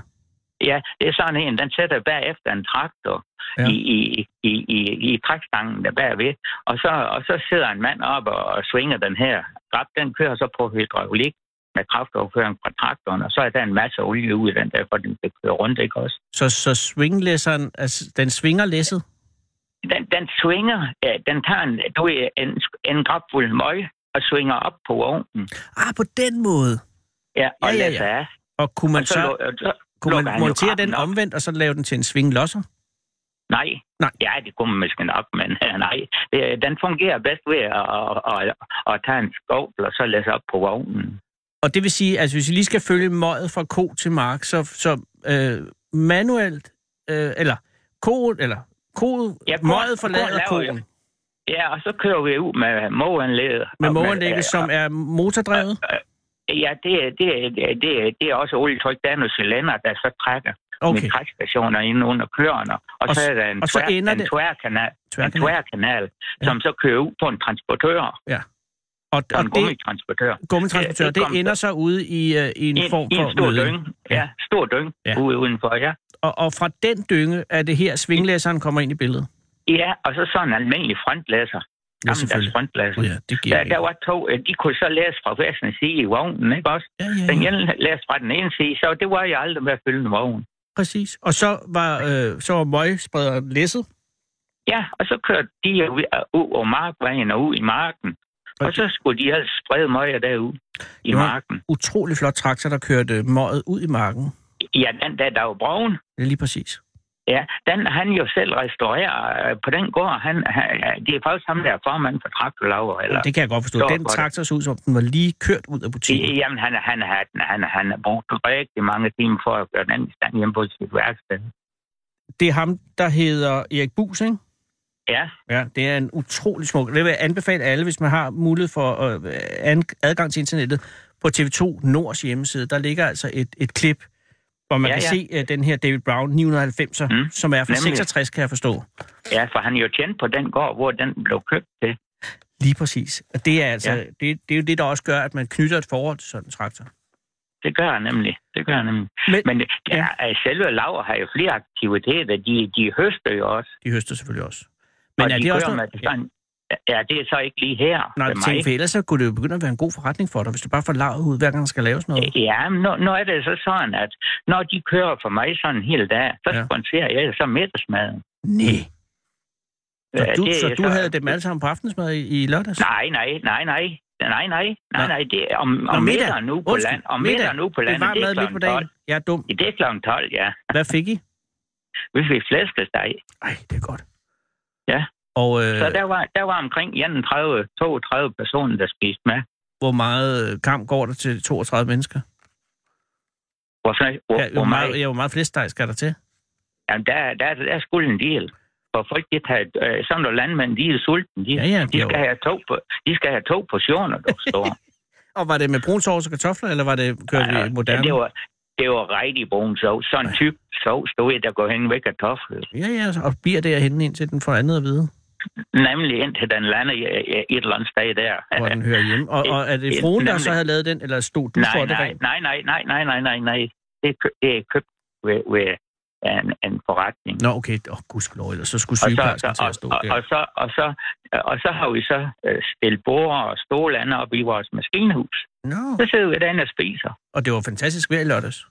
[SPEAKER 4] Ja, det er sådan en, den sætter bagefter en traktor
[SPEAKER 5] Ja.
[SPEAKER 4] ja. i, i, i, i, i trækstangen der bagved. Og så, og så sidder en mand op og, og svinger den her. Grab, den kører så på hydraulik med kraftoverføring fra traktoren, og så er der en masse olie ud i den der, for den kan køre rundt, ikke også?
[SPEAKER 5] Så, så swinglæsseren, altså, den svinger læsset?
[SPEAKER 4] den, den svinger, ja, den tager en, du ved, en, en grabfuld møg og svinger op på ovnen.
[SPEAKER 5] Ah, på den måde.
[SPEAKER 4] Ja, og
[SPEAKER 5] Ja,
[SPEAKER 4] ja, ja,
[SPEAKER 5] ja, ja.
[SPEAKER 4] ja. læser af.
[SPEAKER 5] Og kunne man
[SPEAKER 4] Og så,
[SPEAKER 5] så,
[SPEAKER 4] lå- og så,
[SPEAKER 5] kunne
[SPEAKER 4] lukker
[SPEAKER 5] man
[SPEAKER 4] han jo
[SPEAKER 5] montere den
[SPEAKER 4] krabben op.
[SPEAKER 5] omvendt, og så lave den til en svinglosser?
[SPEAKER 4] nej.
[SPEAKER 5] Nej.
[SPEAKER 4] Ja, det kunne man måske nok, men nej. Det, den fungerer bedst ved at, at, at, at tage en skovl og så læse op på ovnen.
[SPEAKER 5] Og det vil sige, at altså, hvis vi lige skal følge møjet fra ko til mark, så, så øh, manuelt, øh, eller ko, eller ko, ja,
[SPEAKER 4] Ja, ko-
[SPEAKER 5] møjet
[SPEAKER 4] ko
[SPEAKER 5] forlader
[SPEAKER 4] laver jo-
[SPEAKER 5] koen
[SPEAKER 4] Ja, og så kører vi ud med mågeanlægget.
[SPEAKER 5] med
[SPEAKER 4] Og
[SPEAKER 5] morgendækket, som er motordrevet.
[SPEAKER 4] Ja, det, det, det, det, det er også olietryk. Der er nogle cylinder, der så trækker okay.
[SPEAKER 5] Okay,
[SPEAKER 4] med trækstationer inde under køerne. Og,
[SPEAKER 5] Og
[SPEAKER 4] og så
[SPEAKER 5] s-
[SPEAKER 4] er der en,
[SPEAKER 5] og så
[SPEAKER 4] tvær,
[SPEAKER 5] ender
[SPEAKER 4] en
[SPEAKER 5] det-
[SPEAKER 4] tværkanal. en
[SPEAKER 5] tværkanal.
[SPEAKER 4] tværkanal,
[SPEAKER 5] Ja.
[SPEAKER 4] som så kører ud på en transportør,
[SPEAKER 5] Og,
[SPEAKER 4] på
[SPEAKER 5] og
[SPEAKER 4] en
[SPEAKER 5] det
[SPEAKER 4] gummitransportør.
[SPEAKER 5] gummitransportør,
[SPEAKER 4] Ja, det
[SPEAKER 5] det
[SPEAKER 4] kom-
[SPEAKER 5] ender så ude i, øh, i en,
[SPEAKER 4] I en,
[SPEAKER 5] form
[SPEAKER 4] i en
[SPEAKER 5] for
[SPEAKER 4] stor
[SPEAKER 5] møde.
[SPEAKER 4] dynge. Ja, stor dynge
[SPEAKER 5] Ja.
[SPEAKER 4] ja. ude udenfor, ja.
[SPEAKER 5] Og, og fra den dynge er det her, svinglæseren kommer ind i billedet.
[SPEAKER 4] Ja, og så sådan en almindelig frontlæser.
[SPEAKER 5] Ja,
[SPEAKER 4] Gammeldags
[SPEAKER 5] selvfølgelig.
[SPEAKER 4] frontlæser.
[SPEAKER 5] Ja, det giver
[SPEAKER 4] Der,
[SPEAKER 5] ikke.
[SPEAKER 4] der var to, øh, de kunne så læse fra hver sin side i vognen, ikke også?
[SPEAKER 5] Ja,
[SPEAKER 4] Den
[SPEAKER 5] ja, ja,
[SPEAKER 4] ene læste fra den ene side, så det var jeg aldrig med at fylde en vogn.
[SPEAKER 5] præcis. Og så var, øh, så var møgsprederen læsset.
[SPEAKER 4] Ja, og så kørte de jo ud- ud over markvejen og ud i marken. Og
[SPEAKER 5] Og
[SPEAKER 4] så skulle de altså sprede møger derud i
[SPEAKER 5] Det var-
[SPEAKER 4] marken.
[SPEAKER 5] Utrolig flot traktor, der kørte møget ud i marken.
[SPEAKER 4] Ja, den der, der var brogen,
[SPEAKER 5] Ja, lige præcis.
[SPEAKER 4] Ja, den, han jo selv restaurerer øh, på den gård. Han, han, det er faktisk ham, der er formand for Traktorlaver. Eller,
[SPEAKER 5] Det kan jeg godt forstå.
[SPEAKER 4] Så
[SPEAKER 5] Den
[SPEAKER 4] godt.
[SPEAKER 5] traktor så ud som, den var lige kørt ud af butikken.
[SPEAKER 4] I- Jamen, han, han, han, han, han har brugt rigtig mange timer for at gøre den i stand hjemme på sit værksted.
[SPEAKER 5] Det er ham, der hedder Erik Bus, ikke?
[SPEAKER 4] Ja,
[SPEAKER 5] Ja, det er en utrolig smuk. Det vil jeg anbefale alle, hvis man har mulighed for øh, an- adgang til internettet. På TV2 Nords hjemmeside, der ligger altså et, et klip, hvor man ja,
[SPEAKER 4] Ja,
[SPEAKER 5] kan
[SPEAKER 4] ja.
[SPEAKER 5] se øh, den her David Brown 990'er, mm.
[SPEAKER 4] Mm,
[SPEAKER 5] som er fra
[SPEAKER 4] nemlig.
[SPEAKER 5] 66, kan jeg forstå.
[SPEAKER 4] ja, for han jo tjente på den gård, hvor den blev købt til.
[SPEAKER 5] Lige præcis. Og det er altså, ja.
[SPEAKER 4] Ja.
[SPEAKER 5] det, det er jo det, der også gør, at man knytter et forhold til sådan en traktor.
[SPEAKER 4] Det gør han nemlig. Det gør han nemlig.
[SPEAKER 5] Men-
[SPEAKER 4] Men, Men det, ja. Ja, selve Laver har jo flere aktiviteter. De, de høster jo også.
[SPEAKER 5] De høster selvfølgelig også. Men
[SPEAKER 4] og
[SPEAKER 5] er
[SPEAKER 4] de
[SPEAKER 5] det også
[SPEAKER 4] kører
[SPEAKER 5] noget...
[SPEAKER 4] med sådan, ja. det er så ikke lige her. øh,
[SPEAKER 5] Nej,
[SPEAKER 4] ved
[SPEAKER 5] jeg tænker, for ellers så kunne det jo begynde at være en god forretning for dig, hvis du bare får lavet ud, hver gang der skal laves noget.
[SPEAKER 4] Ja, men nu, nu er det så sådan, at når de kører for mig sådan en hel dag, så
[SPEAKER 5] Ja.
[SPEAKER 4] ja. sponsorer jeg så middagsmaden.
[SPEAKER 5] Nej. Så
[SPEAKER 4] Ja,
[SPEAKER 5] du,
[SPEAKER 4] det er
[SPEAKER 5] så du
[SPEAKER 4] så-
[SPEAKER 5] havde dem alle sammen på aftensmad i, i lørdags?
[SPEAKER 4] Nej, nej, nej, nej. Nej, nej, nej, nej, det er om, om
[SPEAKER 5] middag.
[SPEAKER 4] middagen nu på
[SPEAKER 5] Undskyld,
[SPEAKER 4] land. Om
[SPEAKER 5] middag.
[SPEAKER 4] middagen nu på land,
[SPEAKER 5] det var
[SPEAKER 4] det,
[SPEAKER 5] mad
[SPEAKER 4] er
[SPEAKER 5] midt på
[SPEAKER 4] klokken 12.
[SPEAKER 5] dagen. Jeg er dum.
[SPEAKER 4] Ja, Det er klokken 12, ja.
[SPEAKER 5] Hvad fik I?
[SPEAKER 4] Vi fik flæskesteg.
[SPEAKER 5] Ej, det er godt.
[SPEAKER 4] Ja.
[SPEAKER 5] Og øh,
[SPEAKER 4] Så der var, der var omkring 31, 32 personer, der spiste med.
[SPEAKER 5] hvor meget øh, kamp går der til 32 mennesker?
[SPEAKER 4] Hvor, hvor,
[SPEAKER 5] ja,
[SPEAKER 4] hvor
[SPEAKER 5] hvor
[SPEAKER 4] mig,
[SPEAKER 5] meget, ja, hvor meget flæskesteg skal der til?
[SPEAKER 4] jamen, der, der, der skulle en del. For folk, de tager, øh, sådan nogle landmænd, de er sultne. De,
[SPEAKER 5] Ja, ja, de
[SPEAKER 4] de,
[SPEAKER 5] er jo-
[SPEAKER 4] skal have to, på- de skal have to portioner, du forstår.
[SPEAKER 5] Og var det med brun sovs og kartofler, eller var det kørt ja, moderne?
[SPEAKER 4] det, var, det var rigtig brun sovs. Sådan en type sovs, du ved, der går hen ved kartoflen.
[SPEAKER 5] Ja, ja, og bliver derhenne, indtil den får andet at vide,
[SPEAKER 4] Nemlig indtil den lander i- i- et eller andet sted der.
[SPEAKER 5] hvor den hører hjemme. Og, og er det
[SPEAKER 4] Ja,
[SPEAKER 5] fruen, der
[SPEAKER 4] nemlig.
[SPEAKER 5] så havde lavet den, eller stod du for
[SPEAKER 4] nej,
[SPEAKER 5] det
[SPEAKER 4] nej,
[SPEAKER 5] rent?
[SPEAKER 4] nej, nej, nej, nej, nej, nej, nej. Det er, kø- det er købt ved, ved en, en forretning.
[SPEAKER 5] Nå, okay. Åh, oh, gudskelov, ellers så skulle
[SPEAKER 4] Og så,
[SPEAKER 5] sygeplejersken til
[SPEAKER 4] og,
[SPEAKER 5] at stå
[SPEAKER 4] og,
[SPEAKER 5] der.
[SPEAKER 4] og, så, og, så, og så har vi så øh, stillet borde og stole andet op i vores maskinhus.
[SPEAKER 5] Nå,
[SPEAKER 4] Så sidder vi derinde og spiser.
[SPEAKER 5] og det var fantastisk vejr i lørdags.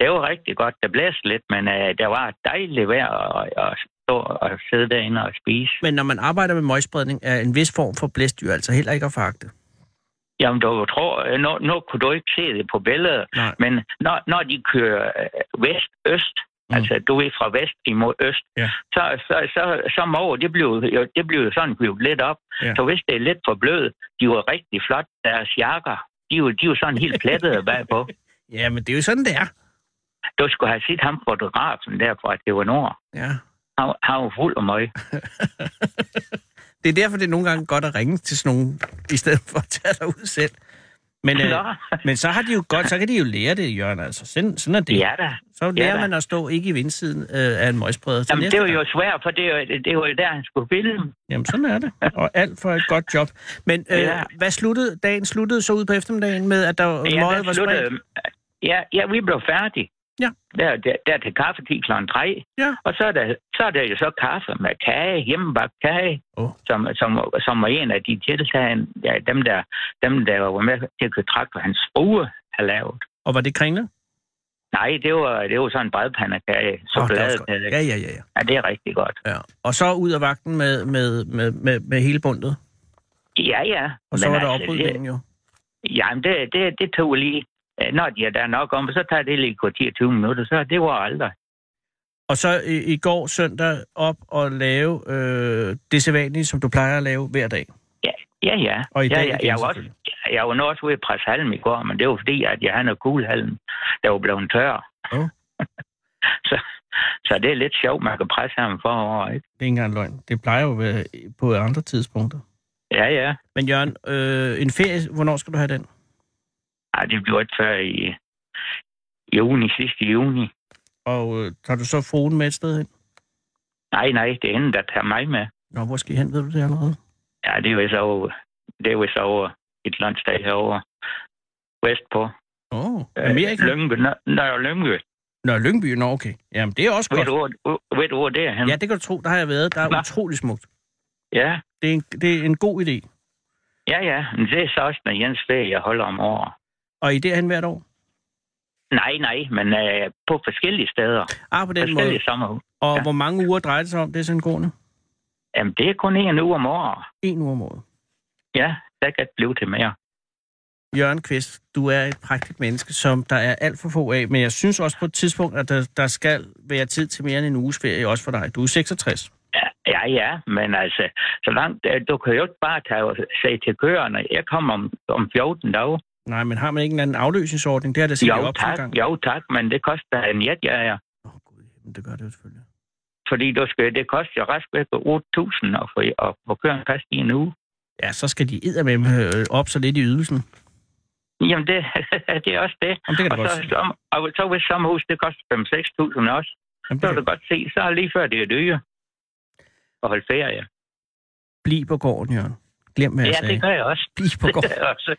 [SPEAKER 4] Det var rigtig godt. Det blæste lidt, men øh, det var dejligt vejr at, at stå og sidde derinde og spise.
[SPEAKER 5] Men når man arbejder med møgspredning, er en vis form for blæst jo altså heller ikke at fagte.
[SPEAKER 4] Jamen, du tror, øh, nu, nu kunne du ikke se det på billedet,
[SPEAKER 5] Nej.
[SPEAKER 4] men når, når de kører øh, vest-øst,
[SPEAKER 5] Mm.
[SPEAKER 4] mm. altså du ved fra vest imod øst,
[SPEAKER 5] Ja.
[SPEAKER 4] så, så, så, så må det blive, jo, det bliver jo sådan bliver lidt op.
[SPEAKER 5] Ja.
[SPEAKER 4] Så hvis det er lidt for blødt, de var rigtig flot, deres jakker, de er jo, de er jo sådan helt plettede bagpå.
[SPEAKER 5] Ja, men det er jo sådan, det er.
[SPEAKER 4] Du skulle have set ham fotografen der fra det var nord.
[SPEAKER 5] Ja.
[SPEAKER 4] Han, han var fuld af møg.
[SPEAKER 5] Det er derfor, det er nogle gange godt at ringe til sådan nogen, i stedet for at tage dig ud selv. Men, øh,
[SPEAKER 4] Nå,
[SPEAKER 5] men så har de jo godt, så kan de jo lære det, Jørgen, altså. Sådan, sådan er det.
[SPEAKER 4] ja da.
[SPEAKER 5] Så lærer
[SPEAKER 4] da.
[SPEAKER 5] man at stå ikke i vindsiden øh, af en møgspreder. til
[SPEAKER 4] Jamen,
[SPEAKER 5] næste
[SPEAKER 4] det var
[SPEAKER 5] gang.
[SPEAKER 4] jo svært, for det var, det var jo der, han skulle filme.
[SPEAKER 5] Jamen, sådan er det. Og alt for et godt job. Men øh,
[SPEAKER 4] Ja.
[SPEAKER 5] hvad sluttede? Dagen sluttede så ud på eftermiddagen med, at der ja,
[SPEAKER 4] Ja,
[SPEAKER 5] møget
[SPEAKER 4] der
[SPEAKER 5] var spredt?
[SPEAKER 4] sluttede, ja, ja, vi blev færdige.
[SPEAKER 5] Ja.
[SPEAKER 4] Der, der, der til kaffetid kl. 3.
[SPEAKER 5] Ja.
[SPEAKER 4] Og så er, der, så er der jo så kaffe med kage, hjemmebagt kage,
[SPEAKER 5] Åh.
[SPEAKER 4] som, som, som var en af de tiltag, ja, dem, der, dem, der var med til at købe traktor, hans frue har lavet.
[SPEAKER 5] Og var det kringle?
[SPEAKER 4] Nej, det var, det var sådan en bredpandekage,
[SPEAKER 5] Åh, det var
[SPEAKER 4] chokolade.
[SPEAKER 5] også godt. ja, ja, ja, ja,
[SPEAKER 4] ja, det er rigtig godt.
[SPEAKER 5] ja. Og så ud af vagten med, med, med, med, med hele bundet.
[SPEAKER 4] Ja, ja.
[SPEAKER 5] Og så
[SPEAKER 4] Men
[SPEAKER 5] var der
[SPEAKER 4] altså,
[SPEAKER 5] oprydningen jo.
[SPEAKER 4] det- Jamen, det, det, det tog lige... øh, Når de er der nok om, så tager det lige et kvartier 20 minutter, så det var aldrig.
[SPEAKER 5] Og så i, i går søndag op og lave øh, det sædvanlige, som du plejer at lave hver dag.
[SPEAKER 4] Ja, ja.
[SPEAKER 5] Og i
[SPEAKER 4] ja,
[SPEAKER 5] dag
[SPEAKER 4] ja.
[SPEAKER 5] igen,
[SPEAKER 4] Jeg var også
[SPEAKER 5] selvfølgelig.
[SPEAKER 4] jeg var nu også ude i preshalm i går, men det var fordi, at jeg havde noget kuglehalm, der var blevet tør.
[SPEAKER 5] Åh.
[SPEAKER 4] så, så det er lidt sjovt, man kan presse ham forover, ikke?
[SPEAKER 5] Det er ikke engang løgn. Det plejer jo at være på andre tidspunkter.
[SPEAKER 4] Ja, ja.
[SPEAKER 5] Men Jørgen, øh, en ferie, hvornår skal du have den?
[SPEAKER 4] Ej, det blev ikke før i i juni, sidste juni.
[SPEAKER 5] Og øh, tager du så fruen med et sted hen?
[SPEAKER 4] Nej, nej, det er hende, der tager mig med.
[SPEAKER 5] Nå, hvor skal I hen, ved du det allerede?
[SPEAKER 4] Ja, det er vist over, det er vist over et eller andet sted herovre. Vestpå.
[SPEAKER 5] Åh, oh,
[SPEAKER 4] Øh,
[SPEAKER 5] Amerika? Øh,
[SPEAKER 4] Lyngby. Nå, Nå, Lyngby.
[SPEAKER 5] Nå, Lyngby, nå, okay. Jamen, det er også
[SPEAKER 4] Ved
[SPEAKER 5] godt.
[SPEAKER 4] du, hvor- ved du, hvor det er henne?
[SPEAKER 5] Ja, det kan du tro, der har jeg været. Der er
[SPEAKER 4] Nå.
[SPEAKER 5] utrolig smukt.
[SPEAKER 4] ja.
[SPEAKER 5] Det er, en, det er en god idé.
[SPEAKER 4] Ja, ja. Men det er så også den Jens ferie, jeg holder om året.
[SPEAKER 5] Og I er derhen hvert år?
[SPEAKER 4] Nej, nej, men øh, på forskellige steder.
[SPEAKER 5] Ah, på den måde.
[SPEAKER 4] forskellige sommerhus.
[SPEAKER 5] Og
[SPEAKER 4] ja.
[SPEAKER 5] hvor mange uger drejer det sig om, det er sådan gående?
[SPEAKER 4] Jamen, det er kun en uge om året.
[SPEAKER 5] En uge om året.
[SPEAKER 4] Ja, der kan det blive til mere.
[SPEAKER 5] Jørgen Kvist, du er et prægtigt menneske, som der er alt for få af, men jeg synes også på et tidspunkt, at der, der skal være tid til mere end en uges ferie, også for dig. Du er 66.
[SPEAKER 4] Ja, ja, ja, men altså, så langt, øh, du kan jo ikke bare tage og sige til køerne, jeg kommer om, om 14 dage.
[SPEAKER 5] Nej, men har man ikke en anden afløsningsordning? Det har der sikkert
[SPEAKER 4] Jo
[SPEAKER 5] op til
[SPEAKER 4] tak,
[SPEAKER 5] gang.
[SPEAKER 4] jo tak, men det koster en jetjager.
[SPEAKER 5] Åh, Gud, jamen, det gør det jo selvfølgelig.
[SPEAKER 4] Fordi du skal, det koster jo rask væk 8.000 at få, at få køren fast i en uge.
[SPEAKER 5] Ja, så skal de eddermame øh, op så lidt i ydelsen.
[SPEAKER 4] Jamen, det, det er også det.
[SPEAKER 5] Jamen, det kan
[SPEAKER 4] Og
[SPEAKER 5] du godt
[SPEAKER 4] så,
[SPEAKER 5] se.
[SPEAKER 4] som, og så hvis sommerhus, det koster 5-6.000 også.
[SPEAKER 5] Jamen,
[SPEAKER 4] Så kan
[SPEAKER 5] det kan
[SPEAKER 4] du godt se, så er lige før det er dyre at holde ferie.
[SPEAKER 5] Bliv på gården, Jørgen. Glem, hvad jeg
[SPEAKER 4] Ja,
[SPEAKER 5] sagde.
[SPEAKER 4] det gør jeg også.
[SPEAKER 5] Bliv på
[SPEAKER 4] Det
[SPEAKER 5] gården.
[SPEAKER 4] gør jeg også.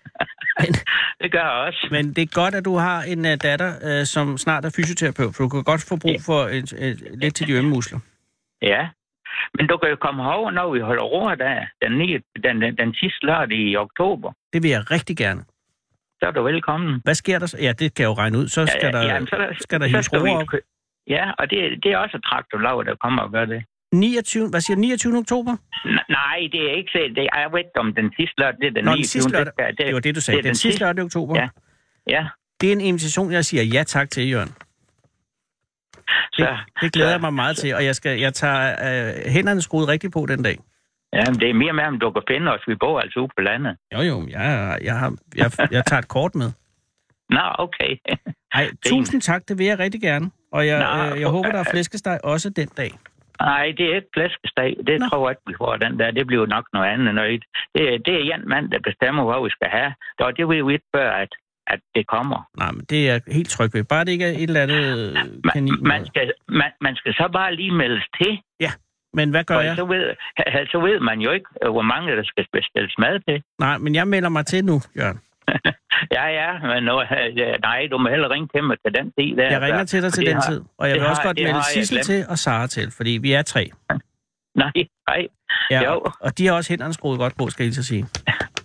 [SPEAKER 5] Men-
[SPEAKER 4] det gør jeg også.
[SPEAKER 5] Men det er godt, at du har en uh, datter, uh, som snart er fysioterapeut, for du kan godt få brug for et, et, lidt til de ømme muskler.
[SPEAKER 4] Ja. Men du kan jo komme herover, når vi holder råd der, den, 9, den, den, den sidste lørdag i oktober.
[SPEAKER 5] Det vil jeg rigtig gerne.
[SPEAKER 4] Så er du velkommen.
[SPEAKER 5] Hvad sker der så? Ja, det kan jeg jo regne ud. Så skal der,
[SPEAKER 4] jamen, så,
[SPEAKER 5] skal der
[SPEAKER 4] så
[SPEAKER 5] hives
[SPEAKER 4] skal vi-
[SPEAKER 5] roer op.
[SPEAKER 4] Ja, og det, det er også traktorlag, der kommer og gør det.
[SPEAKER 5] 29, hvad siger du, 29. oktober?
[SPEAKER 4] N- nej, det er ikke set. Det, jeg ved ikke om den sidste lørdag, det er den
[SPEAKER 5] Nå,
[SPEAKER 4] 29.
[SPEAKER 5] den sidste lørdag.
[SPEAKER 4] Det,
[SPEAKER 5] Det var det, du sagde.
[SPEAKER 4] det er
[SPEAKER 5] den,
[SPEAKER 4] den
[SPEAKER 5] sidste
[SPEAKER 4] sidste.
[SPEAKER 5] lørdag i oktober.
[SPEAKER 4] Ja. Ja,
[SPEAKER 5] Det er en invitation, jeg siger ja tak til, Jørgen. Det,
[SPEAKER 4] så,
[SPEAKER 5] det glæder
[SPEAKER 4] så-
[SPEAKER 5] jeg mig meget til, og jeg, skal, jeg tager øh, hænderne skruet rigtigt på den dag.
[SPEAKER 4] ja, men det er mere med, om du kan finde os. Vi bor altså ude på landet.
[SPEAKER 5] Jo, jo, jeg, jeg, har, jeg, jeg tager et kort med.
[SPEAKER 4] Nå, okay.
[SPEAKER 5] Ej, tusind tak, det vil jeg rigtig gerne. Og jeg,
[SPEAKER 4] Nå,
[SPEAKER 5] øh, jeg håber, der er flæskesteg også den dag.
[SPEAKER 4] Nej, det er ikke flæskesteg. Det
[SPEAKER 5] Nå.
[SPEAKER 4] Nå. tror jeg ikke, vi får den der. Det bliver nok noget andet. Noget. Det, det er en mand, der bestemmer, hvad vi skal have. Og det ved vi ikke før, at, at det kommer.
[SPEAKER 5] Nej, men det er jeg helt tryg ved. Bare det ikke er et eller andet øh,
[SPEAKER 4] Man,
[SPEAKER 5] kanin.
[SPEAKER 4] man, skal, man, man skal så bare lige meldes til.
[SPEAKER 5] Men hvad gør
[SPEAKER 4] For
[SPEAKER 5] jeg?
[SPEAKER 4] så, ved, så ved man jo ikke, øh, hvor mange der skal bestilles mad til.
[SPEAKER 5] Nej, men jeg melder mig til nu, Jørgen.
[SPEAKER 4] Ja, ja, men nu, nej, du må hellere ringe til mig til den tid. Der,
[SPEAKER 5] Jeg ringer til dig til
[SPEAKER 4] Det
[SPEAKER 5] den
[SPEAKER 4] har-
[SPEAKER 5] tid, og jeg
[SPEAKER 4] det
[SPEAKER 5] vil også
[SPEAKER 4] har-
[SPEAKER 5] godt
[SPEAKER 4] det
[SPEAKER 5] melde
[SPEAKER 4] har jeg
[SPEAKER 5] Sissel
[SPEAKER 4] glemt.
[SPEAKER 5] til og Sara til, fordi vi er tre.
[SPEAKER 4] Nej, nej.
[SPEAKER 5] Ja,
[SPEAKER 4] Jo.
[SPEAKER 5] og- og de har også hænderne skruet godt på, skal jeg lige så sige.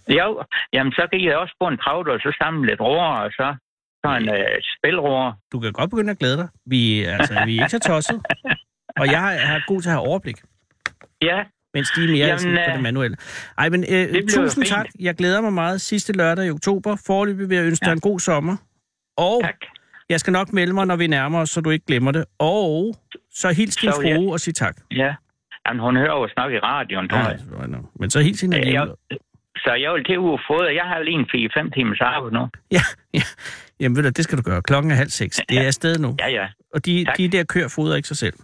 [SPEAKER 4] Jo, jamen så kan I også få en travl, og så samle lidt roer, og så, så en øh, spilroer.
[SPEAKER 5] Du kan godt begynde at glæde dig. Vi, er- altså, vi er ikke så tosset. Og jeg er- er god til at have overblik,
[SPEAKER 4] Ja,
[SPEAKER 5] mens de er mere Jamen,
[SPEAKER 4] Jamen,
[SPEAKER 5] sådan, på
[SPEAKER 4] øh,
[SPEAKER 5] det manuelle. Ej, men øh,
[SPEAKER 4] bliver
[SPEAKER 5] tusind
[SPEAKER 4] fint.
[SPEAKER 5] tak. Jeg glæder mig meget. Sidste lørdag i oktober. Forløbig vil jeg ønske dig en god sommer. Og
[SPEAKER 4] tak.
[SPEAKER 5] jeg skal nok melde mig, når vi nærmer os, så du ikke glemmer det. Og så hils din
[SPEAKER 4] Så vil jeg-
[SPEAKER 5] frue og sig tak.
[SPEAKER 4] Ja. Jamen, hun hører jo snak i radioen, tror jeg.
[SPEAKER 5] Ja, nå. men så helt sin
[SPEAKER 4] Øh,
[SPEAKER 5] alligevel.
[SPEAKER 4] jeg- Så jeg vil til uge fodre. Jeg har lige en 4-5 timers arbejde nu.
[SPEAKER 5] Ja, ja. Jamen ved du, det skal du gøre. Klokken er halv seks. Det er afsted nu.
[SPEAKER 4] Ja, ja.
[SPEAKER 5] Og de,
[SPEAKER 4] Tak.
[SPEAKER 5] de der kører fodrer ikke sig selv.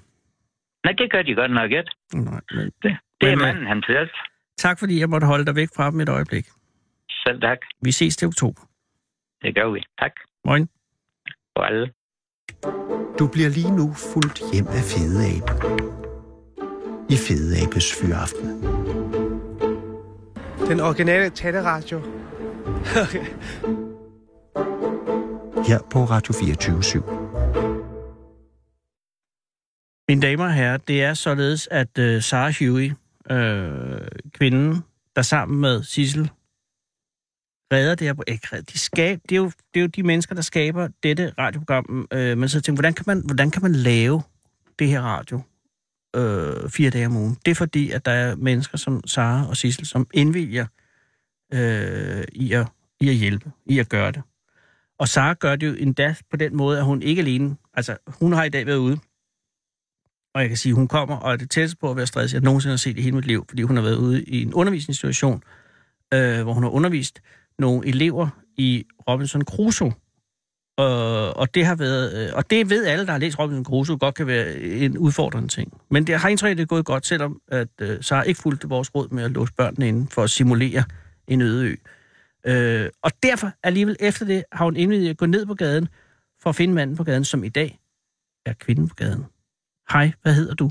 [SPEAKER 4] Nej, det gør de godt nok ikke.
[SPEAKER 5] Nej, men
[SPEAKER 4] Det, det er
[SPEAKER 5] Men, øh,
[SPEAKER 4] manden, han selv.
[SPEAKER 5] tak fordi jeg måtte holde dig væk fra dem et øjeblik.
[SPEAKER 4] Selv tak.
[SPEAKER 5] Vi ses til oktober.
[SPEAKER 4] Det gør vi. Tak
[SPEAKER 5] Morgen.
[SPEAKER 4] for alle.
[SPEAKER 3] Du bliver lige nu fuldt hjem af Fede Abe. I Fede Abes Fyraften.
[SPEAKER 6] Den originale taleradio.
[SPEAKER 3] Her på Radio 24 7.
[SPEAKER 5] Mine damer og herrer, det er således, at uh, Sarah Huey, øh, kvinden, der sammen med Sissel redder det her... pro- Ikke, redder, de skab, det, er jo, det er jo de mennesker, der skaber dette radioprogram. Øh, man sidder og tænker, hvordan kan man, hvordan kan man lave det her radio øh, fire dage om ugen? Det er fordi, at der er mennesker som Sara og Sissel, som indvilger øh, i, at, i at hjælpe, i at gøre det. Og Sara gør det jo endda på den måde, at hun ikke alene... Altså, hun har i dag været ude og jeg kan sige, at hun kommer og er det tætteste på at være stresset, jeg nogensinde har set i hele mit liv, fordi hun har været ude i en undervisningssituation, øh, hvor hun har undervist nogle elever i Robinson Crusoe. Øh, og det har været, øh, og det ved alle, der har læst Robinson Crusoe, godt kan være en udfordrende ting. Men det har indtryk, at det er gået godt, selvom at øh, Sara ikke fulgte vores råd med at låse børnene inde for at simulere en øde ø. Øh, og derfor alligevel efter det har hun indvidet at gå ned på gaden for at finde manden på gaden, som i dag er kvinden på gaden. Hej, hvad hedder du?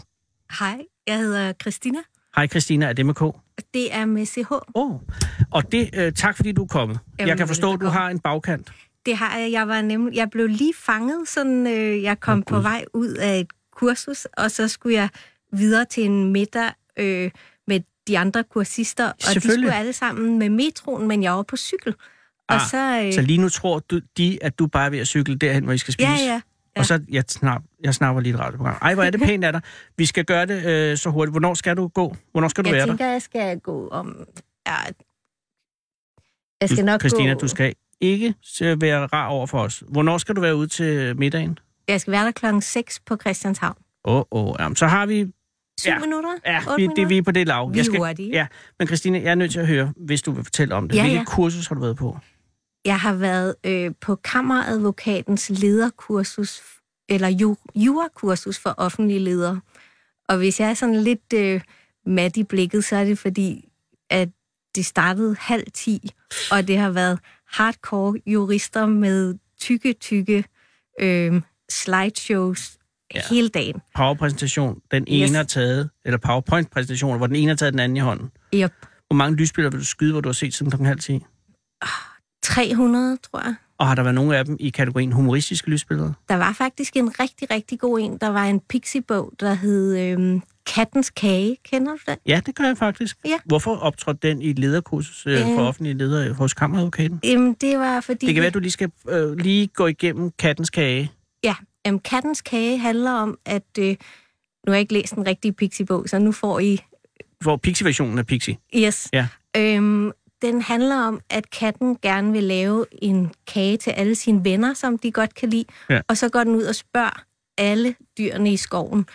[SPEAKER 7] Hej, jeg hedder Christina.
[SPEAKER 5] Hej Christina, er det med K? Åh,
[SPEAKER 7] og Det er med CH.
[SPEAKER 5] oh. og det, øh, tak fordi du er kommet. Jamen,
[SPEAKER 7] Jamen,
[SPEAKER 5] jeg kan forstå, at du
[SPEAKER 7] velbekomme.
[SPEAKER 5] har en bagkant.
[SPEAKER 7] Det har jeg. Jeg, var nemlig, jeg blev lige fanget, sådan øh, jeg kom
[SPEAKER 5] Åh,
[SPEAKER 7] oh, på
[SPEAKER 5] Gud.
[SPEAKER 7] vej ud af et kursus, og så skulle jeg videre til en middag øh, med de andre kursister, og de
[SPEAKER 5] Selvfølgelig.
[SPEAKER 7] skulle alle sammen med metroen, men jeg var på cykel. Og
[SPEAKER 5] Ah,
[SPEAKER 7] så,
[SPEAKER 5] Øh.
[SPEAKER 7] øh,
[SPEAKER 5] Så lige nu tror du, de, at du bare er ved at cykle derhen, hvor I skal spise.
[SPEAKER 7] ja, ja.
[SPEAKER 5] Og så, jeg, snap, jeg snapper lige et radioprogram. Ej, hvor er det pænt af dig. Vi skal gøre det øh, så hurtigt. Hvornår skal du gå? Hvornår skal du
[SPEAKER 7] Jeg
[SPEAKER 5] være
[SPEAKER 7] tænker, jeg skal gå om... Ja, jeg
[SPEAKER 5] der?
[SPEAKER 7] skal nok
[SPEAKER 5] Christina,
[SPEAKER 7] gå,
[SPEAKER 5] du skal ikke øh, være rar over for os. Hvornår skal du være ude til middagen?
[SPEAKER 7] Jeg skal være der klokken 6 på Christianshavn.
[SPEAKER 5] Åh, oh, åh. Oh, jamen, så har vi...
[SPEAKER 7] 7
[SPEAKER 5] Ja.
[SPEAKER 7] minutter?
[SPEAKER 5] Ja,
[SPEAKER 7] Otte
[SPEAKER 5] vi, det,
[SPEAKER 7] minutter?
[SPEAKER 5] vi er på det lav.
[SPEAKER 7] Vi er hurtige.
[SPEAKER 5] Ja, men Christina, jeg er nødt til at høre, hvis du vil fortælle om det.
[SPEAKER 7] Ja,
[SPEAKER 5] Hvilket
[SPEAKER 7] ja.
[SPEAKER 5] kursus har du været på?
[SPEAKER 7] Jeg har været øh, på kammeradvokatens lederkursus, eller ju, jurakursus for offentlige ledere. Og hvis jeg er sådan lidt øh, mat i blikket, så er det fordi, at det startede halv ti, og det har været hardcore jurister med tykke, tykke øh, slideshows
[SPEAKER 5] Ja.
[SPEAKER 7] ja. hele dagen.
[SPEAKER 5] powerpræsentation, den ene yes.
[SPEAKER 7] Yes.
[SPEAKER 5] har taget, eller powerpoint-præsentation, hvor den ene har taget den anden i hånden.
[SPEAKER 7] Yep.
[SPEAKER 5] Hvor mange lysbilleder vil du skyde, hvor du har set siden klokken halv 10?
[SPEAKER 7] 300, tror jeg.
[SPEAKER 5] Og har der været nogle af dem i kategorien humoristiske lysbilleder?
[SPEAKER 7] Der var faktisk en rigtig, rigtig god en. Der var en pixiebog, der hed øh, Kattens Kage. Kender du den?
[SPEAKER 5] Ja, det gør jeg faktisk.
[SPEAKER 7] Ja.
[SPEAKER 5] Hvorfor optrådte den i et lederkursus øh, for
[SPEAKER 7] Øh.
[SPEAKER 5] offentlige ledere hos kammeradvokaten?
[SPEAKER 7] Jamen, det var fordi...
[SPEAKER 5] Det kan være, at du lige skal øh, lige gå igennem kattens kage.
[SPEAKER 7] Ja, um, Kattens Kage handler om, at... Øh, nu har jeg ikke læst den rigtige Pixie-bog, så nu får I...
[SPEAKER 5] Hvor Pixie-versionen af Pixie.
[SPEAKER 7] Yes.
[SPEAKER 5] Ja.
[SPEAKER 7] Øhm, den handler om, at katten gerne vil lave en kage til alle sine venner, som de godt kan lide.
[SPEAKER 5] Ja.
[SPEAKER 7] Og så går den ud og spørger alle dyrene i skoven,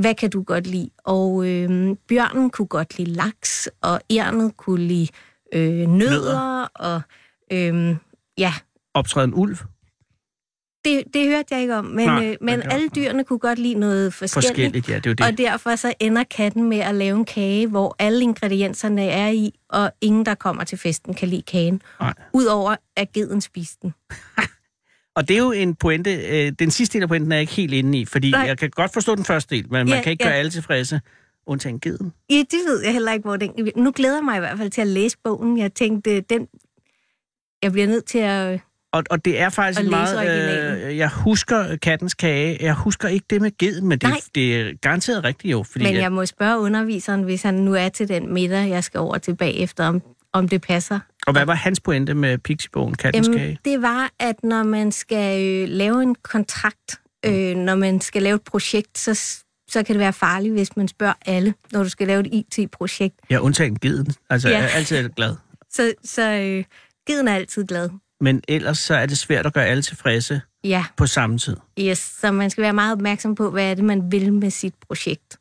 [SPEAKER 7] hvad kan du godt lide? Og øhm, bjørnen kunne godt lide laks, og ærnet kunne lide øh, nødder, og øhm, ja,
[SPEAKER 5] Optræder en ulv.
[SPEAKER 7] Det, det hørte jeg ikke om, men,
[SPEAKER 5] Nej,
[SPEAKER 7] Nej, øh,
[SPEAKER 5] det
[SPEAKER 7] men
[SPEAKER 5] gør-
[SPEAKER 7] alle dyrene kunne godt lide noget forskelligt.
[SPEAKER 5] Forskelligt, ja, det er jo det.
[SPEAKER 7] Og derfor så ender katten med at lave en kage, hvor alle ingredienserne er i, og ingen, der kommer til festen, kan lide kagen.
[SPEAKER 5] Nej.
[SPEAKER 7] Udover at geden spiste den.
[SPEAKER 5] Og det er jo en pointe, øh, den sidste del af pointen er jeg ikke helt inde i, fordi
[SPEAKER 7] Nej.
[SPEAKER 5] jeg kan godt forstå den første del, men man
[SPEAKER 7] Ja,
[SPEAKER 5] kan ikke
[SPEAKER 7] ja.
[SPEAKER 5] gøre alle tilfredse, undtagen geden.
[SPEAKER 7] Ja, det ved jeg heller ikke, hvor den... Nu glæder jeg mig i hvert fald til at læse bogen. Jeg tænkte, den... Jeg bliver nødt til at...
[SPEAKER 5] Og, og det er faktisk
[SPEAKER 7] Og
[SPEAKER 5] en meget...
[SPEAKER 7] læse
[SPEAKER 5] øh,
[SPEAKER 7] originalen.
[SPEAKER 5] jeg husker kattens kage, jeg husker ikke det med geden, men det,
[SPEAKER 7] Nej.
[SPEAKER 5] det er garanteret rigtigt jo, fordi
[SPEAKER 7] Men
[SPEAKER 5] at-
[SPEAKER 7] jeg må spørge underviseren, hvis han nu er til den middag, jeg skal over til bagefter, om, om det passer.
[SPEAKER 5] Og hvad var hans pointe med Pixiebogen, Kattens Kage?
[SPEAKER 7] Øhm, det var, at når man skal øh, lave en kontrakt, øh, når man skal lave et projekt, så, s- så kan det være farligt, hvis man spørger alle, når du skal lave et IT-projekt.
[SPEAKER 5] Ja, undtagen geden. Altså, ja.
[SPEAKER 7] Ja.
[SPEAKER 5] jeg er altid glad.
[SPEAKER 7] Så, så øh, giden er altid glad.
[SPEAKER 5] Men ellers så er det svært at gøre alle tilfredse
[SPEAKER 7] Ja,
[SPEAKER 5] på samme tid.
[SPEAKER 7] yes. så man skal være meget opmærksom på, hvad er det, man vil med sit projekt.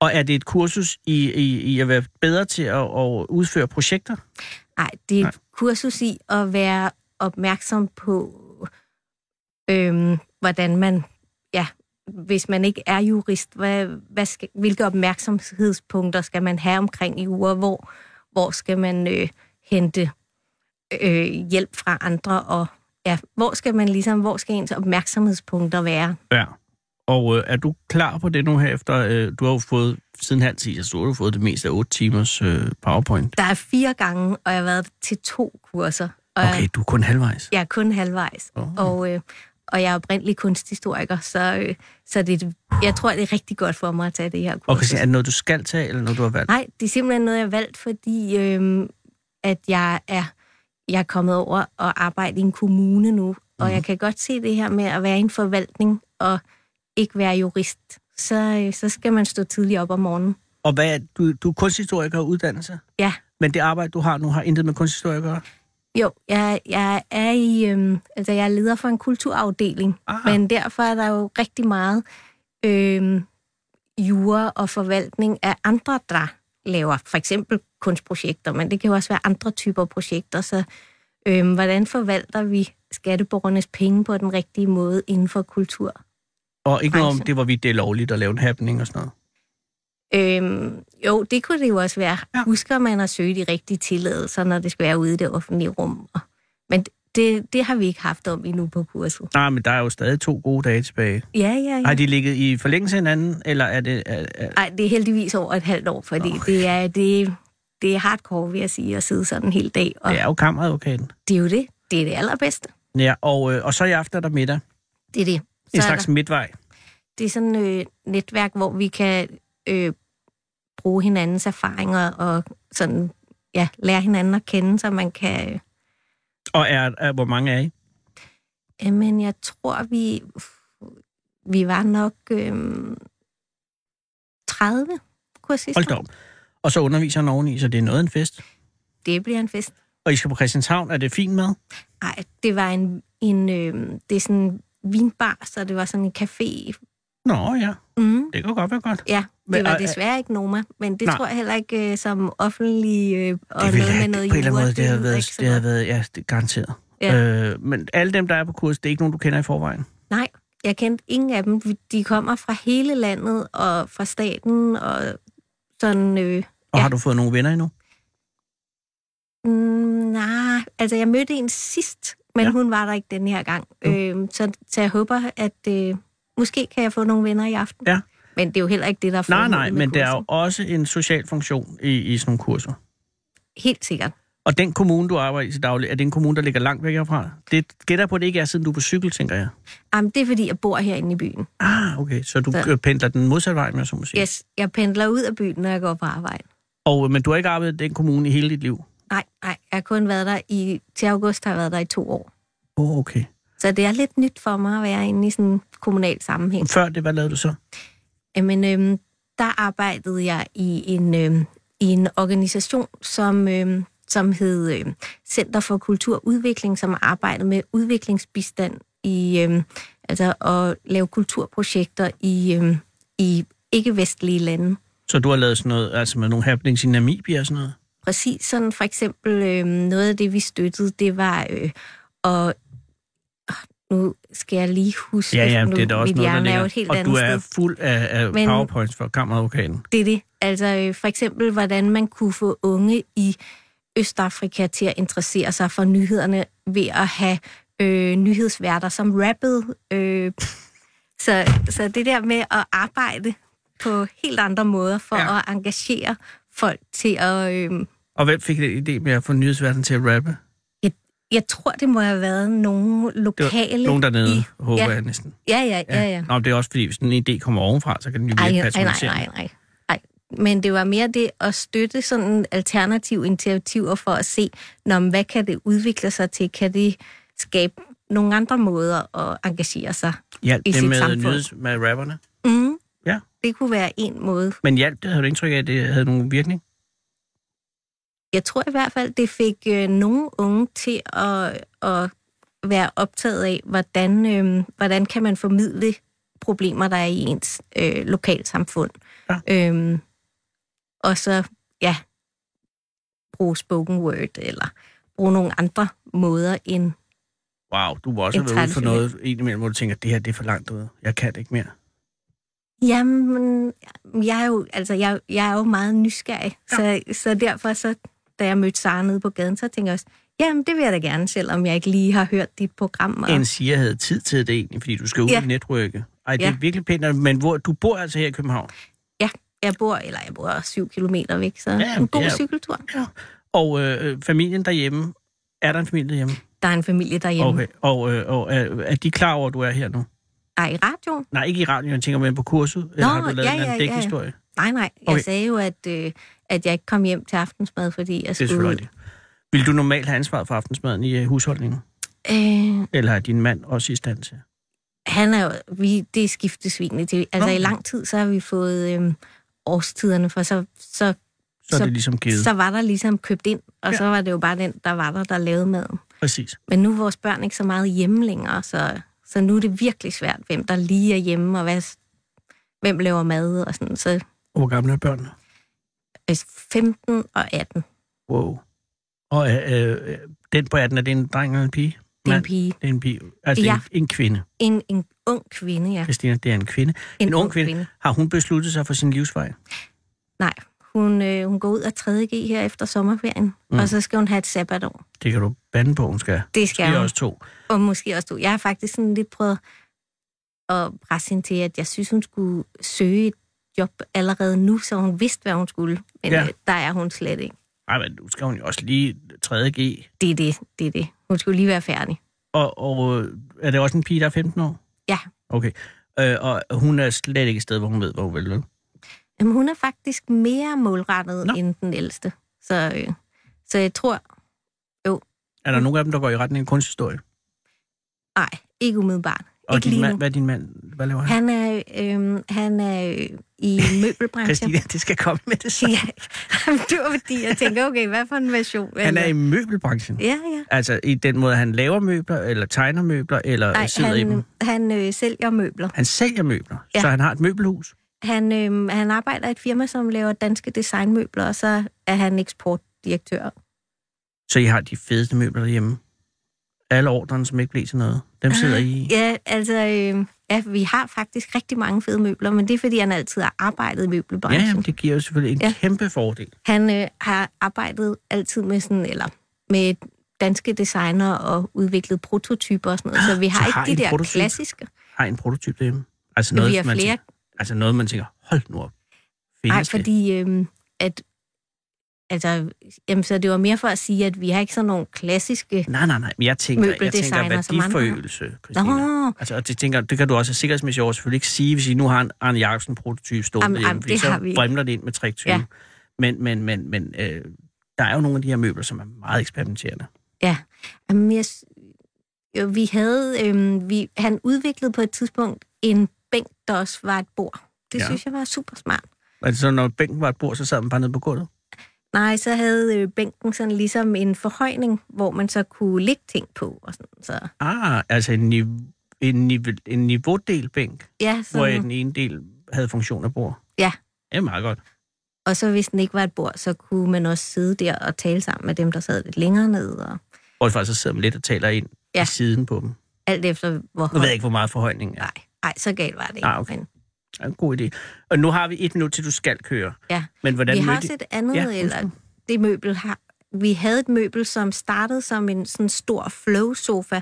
[SPEAKER 5] Og er det et kursus i, i, i at være bedre til at, at udføre projekter?
[SPEAKER 7] Nej, det er et kursus i at være opmærksom på, øhm, hvordan man, ja, hvis man ikke er jurist, hvad, hvad skal, hvilke opmærksomhedspunkter skal man have omkring i uger, hvor, hvor skal man øh, hente øh, hjælp fra andre, og ja, hvor skal man ligesom, hvor skal ens opmærksomhedspunkter være?
[SPEAKER 5] Ja. Og øh, er du klar på det nu her efter? Øh, du har jo fået, siden halv ti, så har du fået det meste af 8 timers øh, powerpoint.
[SPEAKER 7] Der er fire gange, og jeg har været til to kurser, og
[SPEAKER 5] Okay, du er kun halvvejs.
[SPEAKER 7] jeg er kun halvvejs.
[SPEAKER 5] Åh.
[SPEAKER 7] Og, øh, og jeg er oprindelig kunsthistoriker, så, øh, så det, jeg tror, det er rigtig godt for mig at tage det her
[SPEAKER 5] Og
[SPEAKER 7] kursus.
[SPEAKER 5] Christian, er det noget, du skal tage, eller noget, du har valgt?
[SPEAKER 7] Nej, det er simpelthen noget, jeg har valgt, fordi øh, at jeg er, jeg er kommet over og arbejde i en kommune nu, og
[SPEAKER 5] Mhm.
[SPEAKER 7] jeg kan godt se det her med at være i en forvaltning og ikke være jurist. Så, øh, så skal man stå tidligt op om morgenen.
[SPEAKER 5] Og hvad er, du, du er kunsthistoriker og uddannelse,
[SPEAKER 7] Ja,
[SPEAKER 5] men det arbejde, du har nu, har intet med kunsthistorie at gøre?
[SPEAKER 7] Jo, jeg, jeg er i, øhm, altså jeg er leder for en kulturafdeling,
[SPEAKER 5] Ah.
[SPEAKER 7] men derfor er der jo rigtig meget øhm, jure og forvaltning af andre, der laver for eksempel kunstprojekter, men det kan jo også være andre typer projekter, så øhm, hvordan forvalter vi skatteborgernes penge på den rigtige måde inden for kultur?
[SPEAKER 5] Og ikke noget om
[SPEAKER 7] Branchen.
[SPEAKER 5] det, hvorvidt det er lovligt at lave en happening og sådan noget?
[SPEAKER 7] Øhm, jo, det kunne det jo også være.
[SPEAKER 5] Ja.
[SPEAKER 7] Ja. Husker man at søge de rigtige tilladelser, når det skal være ude i det offentlige rum? Og- Men det, det har vi ikke haft om endnu på kurset.
[SPEAKER 5] Nej, men der er jo stadig to gode dage tilbage.
[SPEAKER 7] Ja, ja, ja.
[SPEAKER 5] Har de ligget i forlængelse af hinanden, eller er det... Er, er,
[SPEAKER 7] Ej, det er heldigvis over et halvt år, fordi
[SPEAKER 5] Nå.
[SPEAKER 7] oh. det, er, det, det er hardcore, vil jeg sige, at sidde sådan en hel dag. Og
[SPEAKER 5] det er jo kammeradvokaten.
[SPEAKER 7] det er jo det. Det er det allerbedste.
[SPEAKER 5] Ja, og, øh, og så i aften er der middag.
[SPEAKER 7] Det er det.
[SPEAKER 5] En
[SPEAKER 7] er
[SPEAKER 5] slags
[SPEAKER 7] der,
[SPEAKER 5] midtvej.
[SPEAKER 7] det er sådan et øh, netværk, hvor vi kan øh, bruge hinandens erfaringer og sådan, ja, lære hinanden at kende, så man kan... Øh,
[SPEAKER 5] Og er, er, hvor mange er I?
[SPEAKER 7] Jamen, jeg tror, vi, vi var nok øhm, 30 kursister.
[SPEAKER 5] Hold da op. Og så underviseren oveni, så det er noget af en fest.
[SPEAKER 7] Det bliver en fest.
[SPEAKER 5] Og I skal på Christianshavn, er det fint mad?
[SPEAKER 7] Nej, det var en, en øhm, det er sådan en vinbar, så det var sådan en café.
[SPEAKER 5] Nå ja,
[SPEAKER 7] Mm.
[SPEAKER 5] det kan godt være godt.
[SPEAKER 7] Ja,
[SPEAKER 5] Men,
[SPEAKER 7] det var
[SPEAKER 5] og-
[SPEAKER 7] desværre ikke Noma, men det
[SPEAKER 5] Nej.
[SPEAKER 7] Nej. tror jeg heller ikke øh, som offentlig øh, og
[SPEAKER 5] det
[SPEAKER 7] noget
[SPEAKER 5] have-
[SPEAKER 7] med noget
[SPEAKER 5] på en eller anden
[SPEAKER 7] jura,
[SPEAKER 5] måde, det har
[SPEAKER 7] lyder
[SPEAKER 5] været,
[SPEAKER 7] ikke så
[SPEAKER 5] det har
[SPEAKER 7] godt.
[SPEAKER 5] været, ja, det er garanteret.
[SPEAKER 7] Ja.
[SPEAKER 5] Øh, men alle dem, der er på kurs, det er ikke nogen, du kender i forvejen.
[SPEAKER 7] Nej, jeg kendte ingen af dem. De kommer fra hele landet og fra staten og sådan... Øh,
[SPEAKER 5] Og
[SPEAKER 7] Ja.
[SPEAKER 5] har du fået nogle venner endnu?
[SPEAKER 7] Mm, nej, altså jeg mødte en sidst, men
[SPEAKER 5] Ja.
[SPEAKER 7] ja. hun var der ikke den her gang.
[SPEAKER 5] Mm.
[SPEAKER 7] Øh, så, så jeg håber, at øh, måske kan jeg få nogle venner i aften.
[SPEAKER 5] Ja.
[SPEAKER 7] Men det er jo heller ikke det, der er
[SPEAKER 5] Nej,
[SPEAKER 7] formålet
[SPEAKER 5] nej,
[SPEAKER 7] med
[SPEAKER 5] men der er jo
[SPEAKER 7] kurset.
[SPEAKER 5] også en social funktion i, i sådan nogle kurser.
[SPEAKER 7] Helt sikkert.
[SPEAKER 5] Og den kommune, du arbejder i til daglig, er det en kommune, der ligger langt væk herfra? Det gætter jeg på, at det ikke er, siden du er på cykel, tænker jeg.
[SPEAKER 7] Jamen, det er fordi, jeg bor herinde i byen.
[SPEAKER 5] Ah, okay. Så du
[SPEAKER 7] Så-
[SPEAKER 5] så. pendler den modsatte vej, med, så må sige.
[SPEAKER 7] Yes, jeg pendler ud af byen, når jeg går på arbejde.
[SPEAKER 5] Og, øh, men du har ikke arbejdet i den kommune i hele dit liv?
[SPEAKER 7] Nej, nej, jeg har kun været der i... Til august har jeg været der i to år.
[SPEAKER 5] Åh, oh, okay.
[SPEAKER 7] Så det er lidt nyt for mig at være inde i sådan en kommunal sammenhæng.
[SPEAKER 5] Før det, hvad lavede du så?
[SPEAKER 7] Jamen, øhm, der arbejdede jeg i en, øhm, i en organisation, som, øhm, som hed øhm, Center for Kulturudvikling, som arbejdede med udviklingsbistand i øhm, altså at lave kulturprojekter i, øhm, i ikke-vestlige lande.
[SPEAKER 5] Så du har lavet sådan noget, altså med nogle happenings i Namibia og sådan noget?
[SPEAKER 7] Præcis sådan for eksempel øhm, noget af det, vi støttede, det var øh, at øh, Nu skal jeg lige huske,
[SPEAKER 5] Ja, ja,
[SPEAKER 7] nu,
[SPEAKER 5] det er da også
[SPEAKER 7] mit
[SPEAKER 5] noget, der
[SPEAKER 7] hjerne er jo
[SPEAKER 5] ligger.
[SPEAKER 7] et helt
[SPEAKER 5] og
[SPEAKER 7] andet
[SPEAKER 5] du er
[SPEAKER 7] sted.
[SPEAKER 5] fuld af, af
[SPEAKER 7] Men-
[SPEAKER 5] powerpoints for kammeradvokaten.
[SPEAKER 7] Det er det. Altså øh, for eksempel, hvordan man kunne få unge i Østafrika til at interessere sig for nyhederne ved at have øh, nyhedsværter som rappede. Øh, så, så det der med at arbejde på helt andre måder for
[SPEAKER 5] Ja.
[SPEAKER 7] ja. at engagere folk til at... Øh,
[SPEAKER 5] Og hvem fik den idé med at få nyhedsverdenen til at rappe?
[SPEAKER 7] jeg tror, det må have været nogle
[SPEAKER 5] Det var
[SPEAKER 7] lokale...
[SPEAKER 5] nogen dernede,
[SPEAKER 7] i-
[SPEAKER 5] håber
[SPEAKER 7] ja.
[SPEAKER 5] jeg næsten.
[SPEAKER 7] Ja, ja, ja, ja.
[SPEAKER 5] Nå, men det er også fordi, hvis en idé kommer ovenfra, så kan den jo
[SPEAKER 7] Ej,
[SPEAKER 5] blive
[SPEAKER 7] nej, nej,
[SPEAKER 5] patroniseret.
[SPEAKER 7] nej, nej, nej. Men det var mere det at støtte sådan alternative initiativer for at se, når, hvad kan det udvikle sig til? Kan det skabe nogle andre måder at engagere sig?
[SPEAKER 5] Hjalp
[SPEAKER 7] i
[SPEAKER 5] det
[SPEAKER 7] sit
[SPEAKER 5] med,
[SPEAKER 7] samfund.
[SPEAKER 5] nyheds, med rapperne.
[SPEAKER 7] Mm.
[SPEAKER 5] Ja.
[SPEAKER 7] Det kunne være en måde.
[SPEAKER 5] Men hjalp det, havde du indtryk af, at det havde nogen virkning?
[SPEAKER 7] Jeg tror i hvert fald, det fik øh, nogle unge til at, at være optaget af, hvordan, øh, hvordan kan man formidle problemer, der er i ens øh, lokalsamfund.
[SPEAKER 5] Ja.
[SPEAKER 7] Øhm, og så, ja, bruge spoken word, eller bruge nogle andre måder end...
[SPEAKER 5] Wow, du må også
[SPEAKER 7] En
[SPEAKER 5] have været ude for
[SPEAKER 7] traditionel.
[SPEAKER 5] noget ind imellem, hvor du tænker, det her det er for langt ude. Jeg kan det ikke mere.
[SPEAKER 7] Jamen, jeg er jo, altså, jeg, jeg er jo meget nysgerrig, ja. så, så derfor, så, da jeg mødte Sara nede på gaden, så tænkte jeg også, jamen, det vil jeg da gerne, selvom jeg ikke lige har hørt dit program. Og,
[SPEAKER 5] En siger, jeg havde tid til det egentlig, fordi du skal ud ja.
[SPEAKER 7] Ja.
[SPEAKER 5] i netværket. Ej, det er
[SPEAKER 7] Ja.
[SPEAKER 5] virkelig pænt, men hvor, du bor altså her i København.
[SPEAKER 7] Ja, jeg bor, eller jeg bor syv kilometer væk, så
[SPEAKER 5] Ja,
[SPEAKER 7] ja, en god
[SPEAKER 5] det er-
[SPEAKER 7] cykeltur.
[SPEAKER 5] Og øh, familien derhjemme, er der en familie derhjemme?
[SPEAKER 7] Der er en familie derhjemme.
[SPEAKER 5] Okay, og, øh, og er, er de klar over, at du er her nu?
[SPEAKER 7] Nej, i radioen?
[SPEAKER 5] Nej, ikke i radioen, jeg tænker med på kurset. Eller
[SPEAKER 7] Nå,
[SPEAKER 5] har du lavet
[SPEAKER 7] ja,
[SPEAKER 5] en
[SPEAKER 7] ja,
[SPEAKER 5] anden
[SPEAKER 7] ja, ja.
[SPEAKER 5] dækhistorie?
[SPEAKER 7] Nej, nej. Jeg
[SPEAKER 5] Okay.
[SPEAKER 7] sagde jo, at, øh, at jeg ikke kom hjem til aftensmad, fordi jeg
[SPEAKER 5] Det er
[SPEAKER 7] skulle...
[SPEAKER 5] selvfølgelig rigtigt. Vil du normalt have ansvaret for aftensmaden i øh, husholdningen?
[SPEAKER 7] Øh,
[SPEAKER 5] Eller er din mand også i stand til?
[SPEAKER 7] han er jo... Vi, det er skiftesvinende. Det, altså,
[SPEAKER 5] Nå.
[SPEAKER 7] i lang tid, så har vi fået øh, årstiderne, for så, så,
[SPEAKER 5] Så, så er
[SPEAKER 7] Så-
[SPEAKER 5] det ligesom givet.
[SPEAKER 7] så
[SPEAKER 5] Så,
[SPEAKER 7] var der ligesom købt ind, og ja. så var det jo bare den, der var der, der lavede maden.
[SPEAKER 5] Præcis.
[SPEAKER 7] Men nu er vores børn ikke så meget hjemme længere, så, så nu er det virkelig svært, hvem der lige er hjemme, og hvad, hvem laver mad og sådan. Så
[SPEAKER 5] Og Hvor gamle er børnene?
[SPEAKER 7] øh, 15 og 18.
[SPEAKER 5] Wow. Og øh, øh, den på 18, er det en dreng eller en pige?
[SPEAKER 7] Det er en
[SPEAKER 5] Mand?
[SPEAKER 7] pige.
[SPEAKER 5] Det er en pige. Altså ja.
[SPEAKER 7] Ja.
[SPEAKER 5] en, en kvinde.
[SPEAKER 7] En, en ung kvinde, ja.
[SPEAKER 5] Christina, det er en kvinde. En, en ung kvinde. Har hun besluttet sig for sin livsvej?
[SPEAKER 7] Nej, hun, øh, hun går ud af 3.G her efter sommerferien,
[SPEAKER 5] Mm.
[SPEAKER 7] mm. og så skal hun have et sabbatår.
[SPEAKER 5] Det kan du bande på, hun skal.
[SPEAKER 7] Det skal
[SPEAKER 5] Måske
[SPEAKER 7] hun.
[SPEAKER 5] også to.
[SPEAKER 7] Og måske også du. Jeg har faktisk sådan lidt prøvet at presse hende til, at jeg synes, hun skulle søge et job allerede nu, så hun vidste, hvad hun skulle. Men
[SPEAKER 5] Ja.
[SPEAKER 7] ja. der er hun slet ikke.
[SPEAKER 5] Ej, men nu skal hun jo også lige 3.G.
[SPEAKER 7] Det er det, det er det. Hun skulle lige være færdig.
[SPEAKER 5] Og, og øh, er det også en pige, der er 15 år?
[SPEAKER 7] Ja.
[SPEAKER 5] Okay. Øh, og hun er slet ikke et sted, hvor hun ved, hvor hun vil. vel?
[SPEAKER 7] Jamen, hun er faktisk mere målrettet
[SPEAKER 5] Nå.
[SPEAKER 7] Nå. end den ældste. Så, øh, så jeg tror,
[SPEAKER 5] Er
[SPEAKER 7] Mm.
[SPEAKER 5] der nogen af dem, der går i retning af kunsthistorie?
[SPEAKER 7] nej, ikke umiddelbart.
[SPEAKER 5] Og
[SPEAKER 7] ikke
[SPEAKER 5] din
[SPEAKER 7] lige
[SPEAKER 5] mand,
[SPEAKER 7] nu.
[SPEAKER 5] hvad er din mand? Hvad laver han?
[SPEAKER 7] Han er, øh, han er øh, i møbelbranchen.
[SPEAKER 5] Christina, det skal komme med det samme.
[SPEAKER 7] ja, Jamen, det var fordi, jeg tænker, okay, hvad for en version?
[SPEAKER 5] Han er i møbelbranchen.
[SPEAKER 7] Ja, ja.
[SPEAKER 5] Altså i den måde, han laver møbler, eller tegner møbler, eller Ej,
[SPEAKER 7] Nej,
[SPEAKER 5] sidder han... i dem.
[SPEAKER 7] han, han øh, sælger møbler.
[SPEAKER 5] Han sælger møbler, ja.
[SPEAKER 7] Ja.
[SPEAKER 5] så han har et møbelhus.
[SPEAKER 7] Han, øh, han arbejder i et firma, som laver danske designmøbler, og så er han eksportdirektør.
[SPEAKER 5] Så I har de fedeste møbler derhjemme. Alle ordrene, som ikke blev til noget, dem sidder I i.
[SPEAKER 7] Ah, Ja, altså, øh, ja, vi har faktisk rigtig mange fede møbler, men det er, fordi han altid har arbejdet i
[SPEAKER 5] Ja,
[SPEAKER 7] møbelbranchen.
[SPEAKER 5] jamen, det giver jo selvfølgelig en ja.
[SPEAKER 7] Ja.
[SPEAKER 5] kæmpe fordel.
[SPEAKER 7] Han øh, har arbejdet altid med sådan, eller med danske designer og udviklet prototyper og sådan noget, så vi har
[SPEAKER 5] Ah, Så
[SPEAKER 7] ikke
[SPEAKER 5] har I
[SPEAKER 7] de
[SPEAKER 5] en
[SPEAKER 7] der
[SPEAKER 5] prototype?
[SPEAKER 7] klassiske.
[SPEAKER 5] Har I en prototyp derhjemme? Altså
[SPEAKER 7] Men
[SPEAKER 5] noget,
[SPEAKER 7] vi er
[SPEAKER 5] man
[SPEAKER 7] flere.
[SPEAKER 5] Tænker, altså noget, man tænker, hold nu op. Findes
[SPEAKER 7] Nej,
[SPEAKER 5] det?
[SPEAKER 7] fordi øhm, at, altså, jamen, så det var mere for at sige, at vi har ikke sådan nogle klassiske...
[SPEAKER 5] Nej, nej, nej, men jeg tænker, jeg tænker
[SPEAKER 7] Møbeldesigner, som andre har.
[SPEAKER 5] værdiforøgelse, Christina.
[SPEAKER 7] Nå,
[SPEAKER 5] Altså, og det, tænker, det kan du også af sikkerhedsmæssige år selvfølgelig ikke sige, hvis I nu har en Arne Jacobsen prototype stående
[SPEAKER 7] Jamen,
[SPEAKER 5] hjemme,
[SPEAKER 7] jamen,
[SPEAKER 5] fordi
[SPEAKER 7] det
[SPEAKER 5] så
[SPEAKER 7] har vi ikke.
[SPEAKER 5] vrimler det ind med triktyve. Ja.
[SPEAKER 7] Ja.
[SPEAKER 5] Men, men, men, men øh, der er jo nogle af de her møbler, som er meget eksperimenterende.
[SPEAKER 7] ja. Jamen, jeg, s- jo, vi havde... Øhm, vi, han udviklede på et tidspunkt en bænk, der også var et bord. Det
[SPEAKER 5] Ja.
[SPEAKER 7] ja. synes jeg var super smart.
[SPEAKER 5] Altså, så når bænken var et bord, så sad man bare nede på gulvet.
[SPEAKER 7] Nej, så havde øh, bænken sådan ligesom en forhøjning, hvor man så kunne lægge ting på. Og sådan, så,
[SPEAKER 5] Ah, altså en, niv- en, niv- en niveaudelbænk,
[SPEAKER 7] ja,
[SPEAKER 5] hvor
[SPEAKER 7] sådan,
[SPEAKER 5] den ene del havde funktion af bord.
[SPEAKER 7] Ja.
[SPEAKER 5] Det er meget godt.
[SPEAKER 7] Og så hvis den ikke var et bord, så kunne man også sidde der og tale sammen med dem, der sad lidt længere ned. Og,
[SPEAKER 5] Bortset fra, så sidder man lidt og taler ind ja.
[SPEAKER 7] Ja.
[SPEAKER 5] i siden på dem.
[SPEAKER 7] alt efter hvor
[SPEAKER 5] Nu ved
[SPEAKER 7] høj-
[SPEAKER 5] jeg ikke, hvor meget forhøjningen er.
[SPEAKER 7] Nej, nej, så galt var det ikke.
[SPEAKER 5] Ah, okay.
[SPEAKER 7] Men,
[SPEAKER 5] Ja, en god idé. Og nu har vi et minut til, du skal køre.
[SPEAKER 7] ja.
[SPEAKER 5] Men hvordan
[SPEAKER 7] vi har
[SPEAKER 5] mødte-
[SPEAKER 7] også et andet,
[SPEAKER 5] Ja,
[SPEAKER 7] ja, eller det møbel har... Vi havde et møbel, som startede som en sådan stor flow-sofa.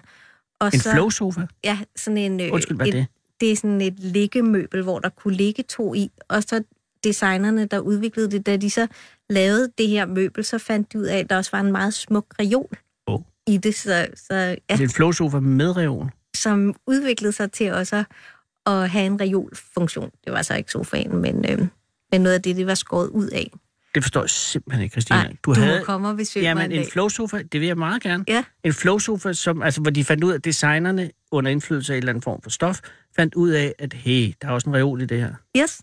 [SPEAKER 7] Og
[SPEAKER 5] En
[SPEAKER 7] så,
[SPEAKER 5] flow-sofa?
[SPEAKER 7] Ja, sådan en... øh,
[SPEAKER 5] Undskyld, hvad er
[SPEAKER 7] et,
[SPEAKER 5] det?
[SPEAKER 7] Det er sådan et liggemøbel, hvor der kunne ligge to i, og så designerne, der udviklede det, da de så lavede det her møbel, så fandt de ud af, at der også var en meget smuk reol
[SPEAKER 5] Åh.
[SPEAKER 7] i det, så, så ja,
[SPEAKER 5] Det er en flow-sofa med reol.
[SPEAKER 7] som udviklede sig til også at- at have en reolfunktion. Det var så ikke sofaen, men, øh, men noget af det, det var skåret ud af.
[SPEAKER 5] Det forstår jeg simpelthen ikke, Christina.
[SPEAKER 7] Nej, du, du havde... må komme og besøge mig
[SPEAKER 5] Jamen,
[SPEAKER 7] en
[SPEAKER 5] en
[SPEAKER 7] dag.
[SPEAKER 5] flow-sofa, det vil jeg meget gerne.
[SPEAKER 7] Ja.
[SPEAKER 5] En flow-sofa, som, altså, hvor de fandt ud af, at designerne under indflydelse af en eller anden form for stof, fandt ud af, at hey, der er også en reol i det her.
[SPEAKER 7] Yes.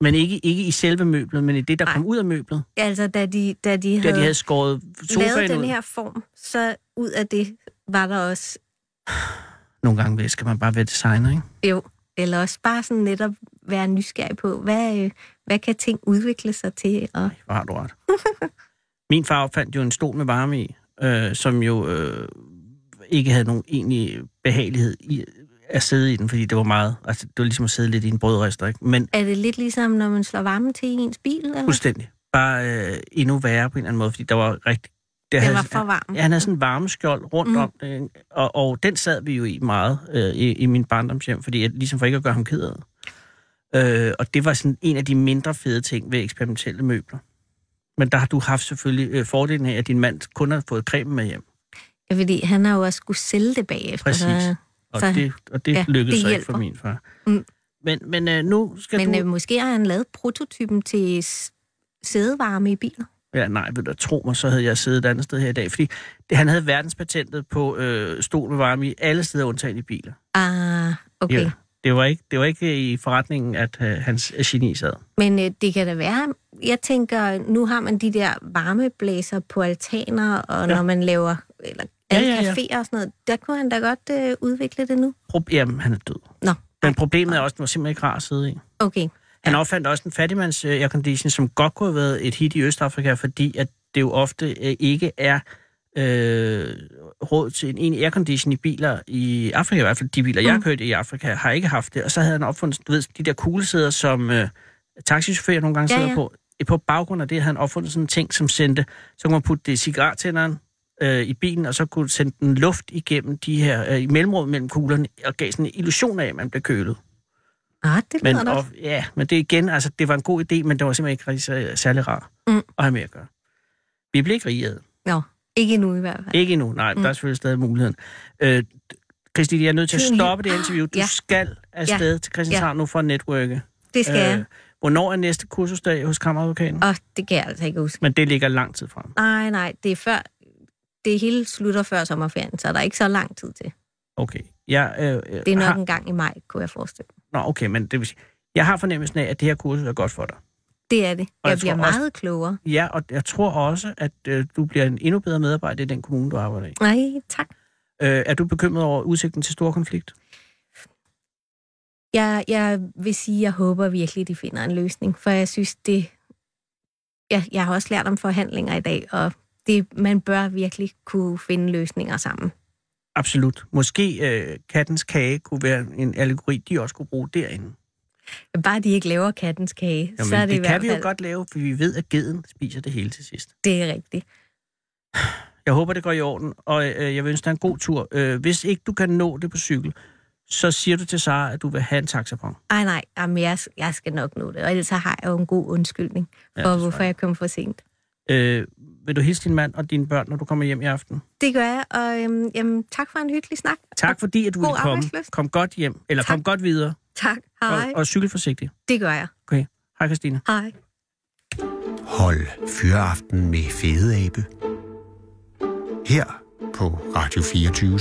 [SPEAKER 5] Men ikke, ikke i selve møblet, men i det, der
[SPEAKER 7] Nej.
[SPEAKER 5] kom ud af møblet.
[SPEAKER 7] Altså, da de, da de
[SPEAKER 5] Da
[SPEAKER 7] havde,
[SPEAKER 5] de havde skåret
[SPEAKER 7] lavet
[SPEAKER 5] sofaen
[SPEAKER 7] den
[SPEAKER 5] ud.
[SPEAKER 7] her form, så ud af det var der også
[SPEAKER 5] Nogle gange skal man bare være designer, ikke?
[SPEAKER 7] Jo, eller også bare sådan netop være nysgerrig på, hvad, øh, hvad kan ting udvikle sig til? Og,
[SPEAKER 5] Hvor har du ret. Min far opfandt jo en stol med varme i, øh, som jo øh, ikke havde nogen egentlig behagelighed i at sidde i den, fordi det var meget, altså det var ligesom at sidde lidt i en brødrester, ikke? Men
[SPEAKER 7] er det lidt ligesom, når man slår varmen til i ens bil? Eller?
[SPEAKER 5] fuldstændig. Bare øh, endnu værre på en eller anden måde, fordi der var rigtig... Det
[SPEAKER 7] Den var for varm.
[SPEAKER 5] Ja, han havde altså- sådan en varmeskjold rundt mm. om det, ikke? og, og den sad vi jo i meget øh, i, i min barndomshjem, fordi jeg, ligesom for ikke at gøre ham ked af det. Øh, og det var sådan en af de mindre fede ting ved eksperimentelle møbler. Men der har du haft selvfølgelig øh, fordelen af, at din mand kun har fået cremen med hjem.
[SPEAKER 7] Ja, fordi han har jo også skulle sælge det bagefter.
[SPEAKER 5] Præcis.
[SPEAKER 7] Så,
[SPEAKER 5] Og
[SPEAKER 7] Så-
[SPEAKER 5] det, og det ja,
[SPEAKER 7] ja,
[SPEAKER 5] lykkedes
[SPEAKER 7] det
[SPEAKER 5] så ikke
[SPEAKER 7] hjælper.
[SPEAKER 5] for min far.
[SPEAKER 7] Mm.
[SPEAKER 5] Men, men øh, nu skal
[SPEAKER 7] men
[SPEAKER 5] du...
[SPEAKER 7] øh, måske har han lavet prototypen til s- sædevarme i biler.
[SPEAKER 5] Ja, nej, vil du tro mig, så havde jeg siddet et andet sted her i dag. Fordi det, han havde verdenspatentet på øh, stol med varme i alle steder, undtagen i biler.
[SPEAKER 7] Ah, okay.
[SPEAKER 5] Ja. Det var, ikke, det var ikke i forretningen, at øh, hans geni sad.
[SPEAKER 7] Men øh, det kan da være, jeg tænker, nu har man de der varmeblæser på altaner, og ja. når man laver eller
[SPEAKER 5] Ja,
[SPEAKER 7] alle
[SPEAKER 5] ja, ja.
[SPEAKER 7] caféer og sådan noget, der kunne han da godt øh, udvikle det nu.
[SPEAKER 5] Pro- Jamen, han er død.
[SPEAKER 7] Nå,
[SPEAKER 5] Men problemet er også, at den var simpelthen ikke rar at sidde i.
[SPEAKER 7] okay.
[SPEAKER 5] Han opfandt også en fattigmands øh, aircondition, som godt kunne have været et hit i Østafrika, fordi at det jo ofte øh, ikke er øh, råd til en egentlig aircondition i biler i Afrika, i hvert fald de biler, jeg har
[SPEAKER 7] Mm.
[SPEAKER 5] kørt i Afrika, har ikke haft det. Og så havde han opfundet, du ved, de der kuglesæder, som øh, taxichauffører nogle gange
[SPEAKER 7] Ja,
[SPEAKER 5] sidder
[SPEAKER 7] ja.
[SPEAKER 5] på. På baggrund af det havde han opfundet sådan en ting, som sendte, så kunne man putte det i cigarettænderen øh, i bilen, og så kunne sende den luft igennem de her, øh, i mellemrummet mellem kuglerne, og gav sådan en illusion af, at man blev kølet.
[SPEAKER 7] Ah, det lyder
[SPEAKER 5] Men,
[SPEAKER 7] da
[SPEAKER 5] og, ja, men det er igen, altså, det var en god idé, men det var simpelthen ikke rigtig, sær- særlig rar
[SPEAKER 7] Mm.
[SPEAKER 5] at have med at gøre. Vi blev ikke rige af det.
[SPEAKER 7] Nå, ikke nu i hvert fald.
[SPEAKER 5] Ikke endnu, nej, mm. der er selvfølgelig stadig muligheden. Øh, Christine, jeg er nødt til at
[SPEAKER 7] Tiden er-
[SPEAKER 5] stoppe det interview. Du ja.
[SPEAKER 7] Ja.
[SPEAKER 5] skal afsted ja. til Christianshavn ja. nu for at netværke.
[SPEAKER 7] Det skal øh. jeg,
[SPEAKER 5] hvornår er næste kursusdag hos kammeradvokaten?
[SPEAKER 7] og det kan jeg altså ikke huske.
[SPEAKER 5] Men det ligger lang tid frem.
[SPEAKER 7] Nej, nej, det er før, det hele slutter før sommerferien, så der er ikke så lang tid til.
[SPEAKER 5] Okay. Jeg, øh, øh,
[SPEAKER 7] Det er nok
[SPEAKER 5] har,
[SPEAKER 7] en gang i maj, kunne jeg forestille mig.
[SPEAKER 5] Nå, okay, men det vil sige, jeg har fornemmelsen af, at det her kursus er godt for dig.
[SPEAKER 7] Det er det.
[SPEAKER 5] Og jeg
[SPEAKER 7] Jeg,
[SPEAKER 5] tror
[SPEAKER 7] bliver
[SPEAKER 5] også-
[SPEAKER 7] meget klogere.
[SPEAKER 5] Ja, og jeg tror også, at øh, du bliver en endnu bedre medarbejder i den kommune, du arbejder i.
[SPEAKER 7] Nej, tak.
[SPEAKER 5] Øh, er du bekymret over udsigten til stor konflikt?
[SPEAKER 7] Jeg, jeg vil sige, jeg håber virkelig, de finder en løsning, for jeg synes, det... Jeg, jeg har også lært om forhandlinger i dag, og det, man bør virkelig kunne finde løsninger sammen.
[SPEAKER 5] Absolut. Måske øh, kattens kage kunne være en allegori, de også kunne bruge derinde.
[SPEAKER 7] Bare de ikke laver kattens kage,
[SPEAKER 5] Jamen,
[SPEAKER 7] så er det, i
[SPEAKER 5] det
[SPEAKER 7] hvert
[SPEAKER 5] kan
[SPEAKER 7] fald...
[SPEAKER 5] vi jo godt lave, for vi ved, at geden spiser det hele til sidst.
[SPEAKER 7] Det er rigtigt.
[SPEAKER 5] Jeg håber, det går i orden, og øh, jeg vil ønske dig en god tur. Øh, hvis ikke du kan nå det på cykel, så siger du til Sara, at du vil have en taxapong.
[SPEAKER 7] Ej, nej, jamen, jeg, jeg skal nok nå det, og ellers så har jeg jo en god undskyldning
[SPEAKER 5] Ja, det
[SPEAKER 7] for, ja,
[SPEAKER 5] tror
[SPEAKER 7] hvorfor
[SPEAKER 5] jeg.
[SPEAKER 7] jeg kom for sent.
[SPEAKER 5] Øh, vil du hilse din mand og dine børn, når du kommer hjem i aften?
[SPEAKER 7] Det gør jeg, og øhm, jamen, tak for en hyggelig snak.
[SPEAKER 5] Tak fordi, at du
[SPEAKER 7] God
[SPEAKER 5] ville komme.
[SPEAKER 7] arbejdslyst.
[SPEAKER 5] Kom godt hjem, eller
[SPEAKER 7] Tak.
[SPEAKER 5] kom godt videre,
[SPEAKER 7] Tak,
[SPEAKER 5] og,
[SPEAKER 7] hej.
[SPEAKER 5] og cykel forsigtigt.
[SPEAKER 7] Det gør jeg,
[SPEAKER 5] Okay. Hej, Christine.
[SPEAKER 7] hej.
[SPEAKER 3] Hold Fyraften med Fede Abe. Her på Radio 24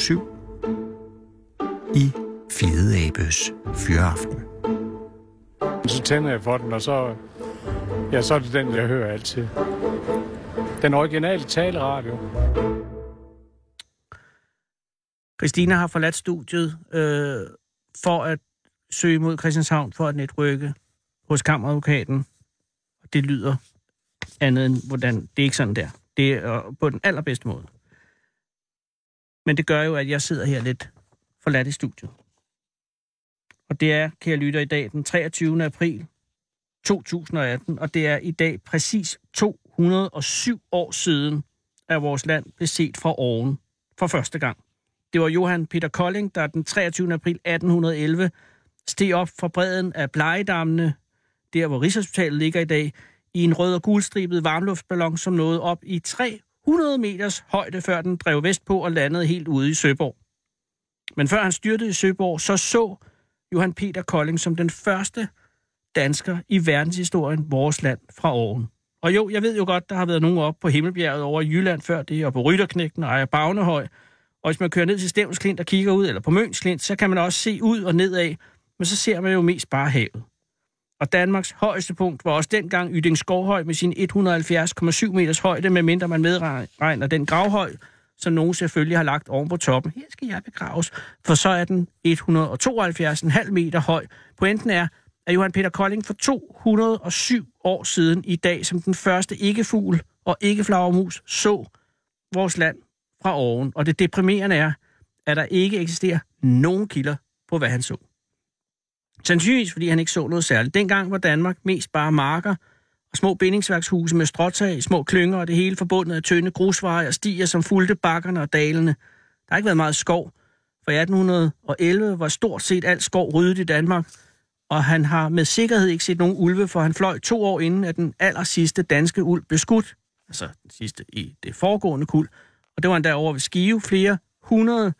[SPEAKER 3] I Fede Abes Fyraften.
[SPEAKER 8] Så tænder jeg for den, og så, ja, så er det den, jeg hører altid. Den originale taleradio.
[SPEAKER 5] Christina har forladt studiet øh, for at søge mod Christianshavn for at netrykke hos kammeradvokaten. Og Det lyder andet end hvordan. Det er ikke sådan der. Det er øh, på den allerbedste måde. Men det gør jo, at jeg sidder her lidt forladt i studiet. Og det er, kære lytter, i dag den 23. april 2018, og det er i dag præcis 207 år siden, at vores land blev set fra oven for første gang. Det var Johan Peter Kolding, der den 23. april 1811 steg op fra bredden af Blejedammene, der hvor Rigshospitalet ligger i dag, i en rød og gulstribet varmluftballon, som nåede op i 300 meters højde, før den drev vestpå og landede helt ude i Søborg. Men før han styrtede i Søborg, så så Johan Peter Kolding som den første dansker i verdenshistorien vores land fra oven. Og jo, jeg ved jo godt, der har været nogen op på Himmelbjerget over i Jylland før det, og på Rytterknægten og Ejer Bagnehøj. Og hvis man kører ned til Stævnsklint og kigger ud, eller på Mønsklint, så kan man også se ud og nedad, men så ser man jo mest bare havet. Og Danmarks højeste punkt var også dengang Yding Skovhøj med sin 170,7 meters højde, medmindre man medregner den gravhøj, som nogen selvfølgelig har lagt oven på toppen. Her skal jeg begraves, for så er den 172,5 meter høj. Pointen er, at Johan Peter Kolding for 207 år siden i dag, som den første ikke-fugl og ikke-flagermus, så vores land fra oven. Og det deprimerende er, at der ikke eksisterer nogen kilder på, hvad han så. Sandsynligvis fordi han ikke så noget særligt. Dengang var Danmark mest bare marker og små bindingsværkshuse med stråtag, små klynger og det hele forbundet af tynde grusveje og stier, som fulgte bakkerne og dalene. Der har ikke været meget skov, for i 1811 var stort set alt skov ryddet i Danmark, og han har med sikkerhed ikke set nogen ulve, for han fløj to år inden, at den aller sidste danske ulv blev skudt, altså den sidste i det foregående kul, og det var endda over ved Skive, flere hundrede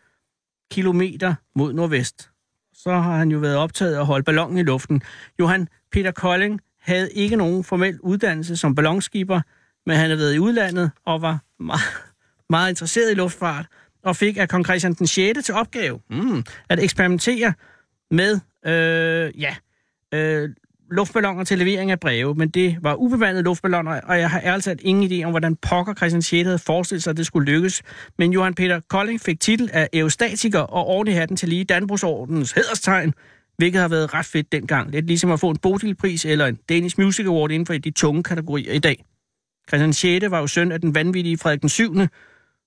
[SPEAKER 5] kilometer mod nordvest så har han jo været optaget af at holde ballonen i luften. Johan Peter Kolding havde ikke nogen formel uddannelse som ballonskipper, men han havde været i udlandet og var meget, meget interesseret i luftfart, og fik af kong Christian den 6. til opgave mm, at eksperimentere med øh, ja, øh, luftballoner til levering af breve, men det var ubemandede luftballoner, og jeg har ærligt talt ingen idé om, hvordan pokker Christian 6. havde forestillet sig, at det skulle lykkes. Men Johan Peter Kolding fik titel af eustatiker og oven i hatten til lige Danbrugsordens hederstegn, hvilket har været ret fedt dengang. Lidt ligesom at få en Bodilpris eller en Danish Music Award inden for de tunge kategorier i dag. Christian 6. var jo søn af den vanvittige Frederik den 7.,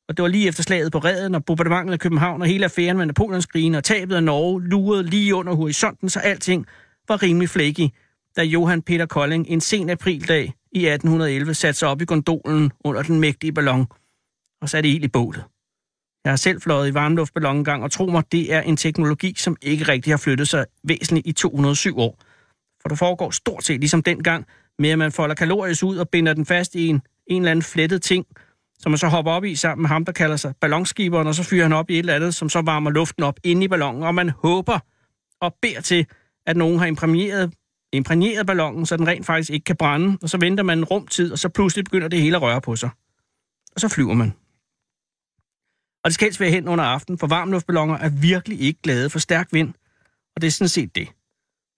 [SPEAKER 5] og det var lige efter slaget på redden og bombardementet af København og hele affæren med Napoleonskrigen og tabet af Norge lurede lige under horisonten, så alting var rimelig flækig da Johan Peter Kolding en sen aprildag i 1811 satte sig op i gondolen under den mægtige ballon og satte ild i bålet. Jeg har selv fløjet i varmluftballon engang, og tro mig, det er en teknologi, som ikke rigtig har flyttet sig væsentligt i 207 år. For det foregår stort set ligesom dengang, med at man folder kalorier ud og binder den fast i en, en eller anden flettet ting, som man så hopper op i sammen med ham, der kalder sig ballonskiberen, og så fyrer han op i et eller andet, som så varmer luften op inde i ballonen, og man håber og beder til, at nogen har impræmieret imprægneret ballonen, så den rent faktisk ikke kan brænde, og så venter man en rumtid, og så pludselig begynder det hele at røre på sig. Og så flyver man. Og det skal helst være hen under aftenen, for varmluftballoner er virkelig ikke glade for stærk vind, og det er sådan set det.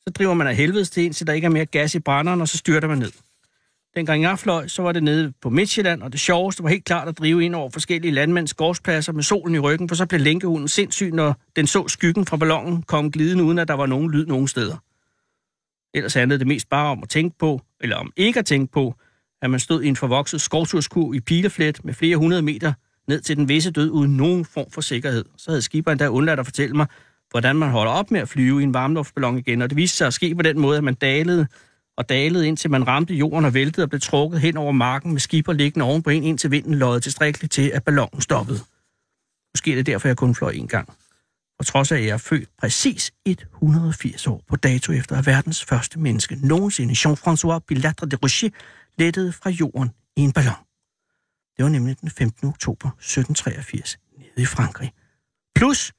[SPEAKER 5] Så driver man af helvedes til indtil der ikke er mere gas i brænderen, og så styrter man ned. Dengang jeg fløj, så var det nede på Midtjylland, og det sjoveste var helt klart at drive ind over forskellige landmænds gårdspladser med solen i ryggen, for så blev lænkehunden sindssyg, når den så skyggen fra ballonen komme glidende, uden at der var nogen lyd nogen steder. Ellers handlede det mest bare om at tænke på, eller om ikke at tænke på, at man stod i en forvokset skovturskur i pileflet med flere hundrede meter ned til den visse død uden nogen form for sikkerhed. Så havde skiberen der undladt at fortælle mig, hvordan man holder op med at flyve i en varmluftballon igen, og det viste sig at ske på den måde, at man dalede og dalede, indtil man ramte jorden og væltede og blev trukket hen over marken med skiber liggende oven på en, indtil vinden løjede tilstrækkeligt til, at ballonen stoppede. Måske er det derfor, jeg kun fløj en gang på trods af, at jeg er født præcis 180 år på dato efter, at verdens første menneske nogensinde, Jean-François Pilatre de Rocher, lettede fra jorden i en ballon. Det var nemlig den 15. oktober 1783 nede i Frankrig. Plus,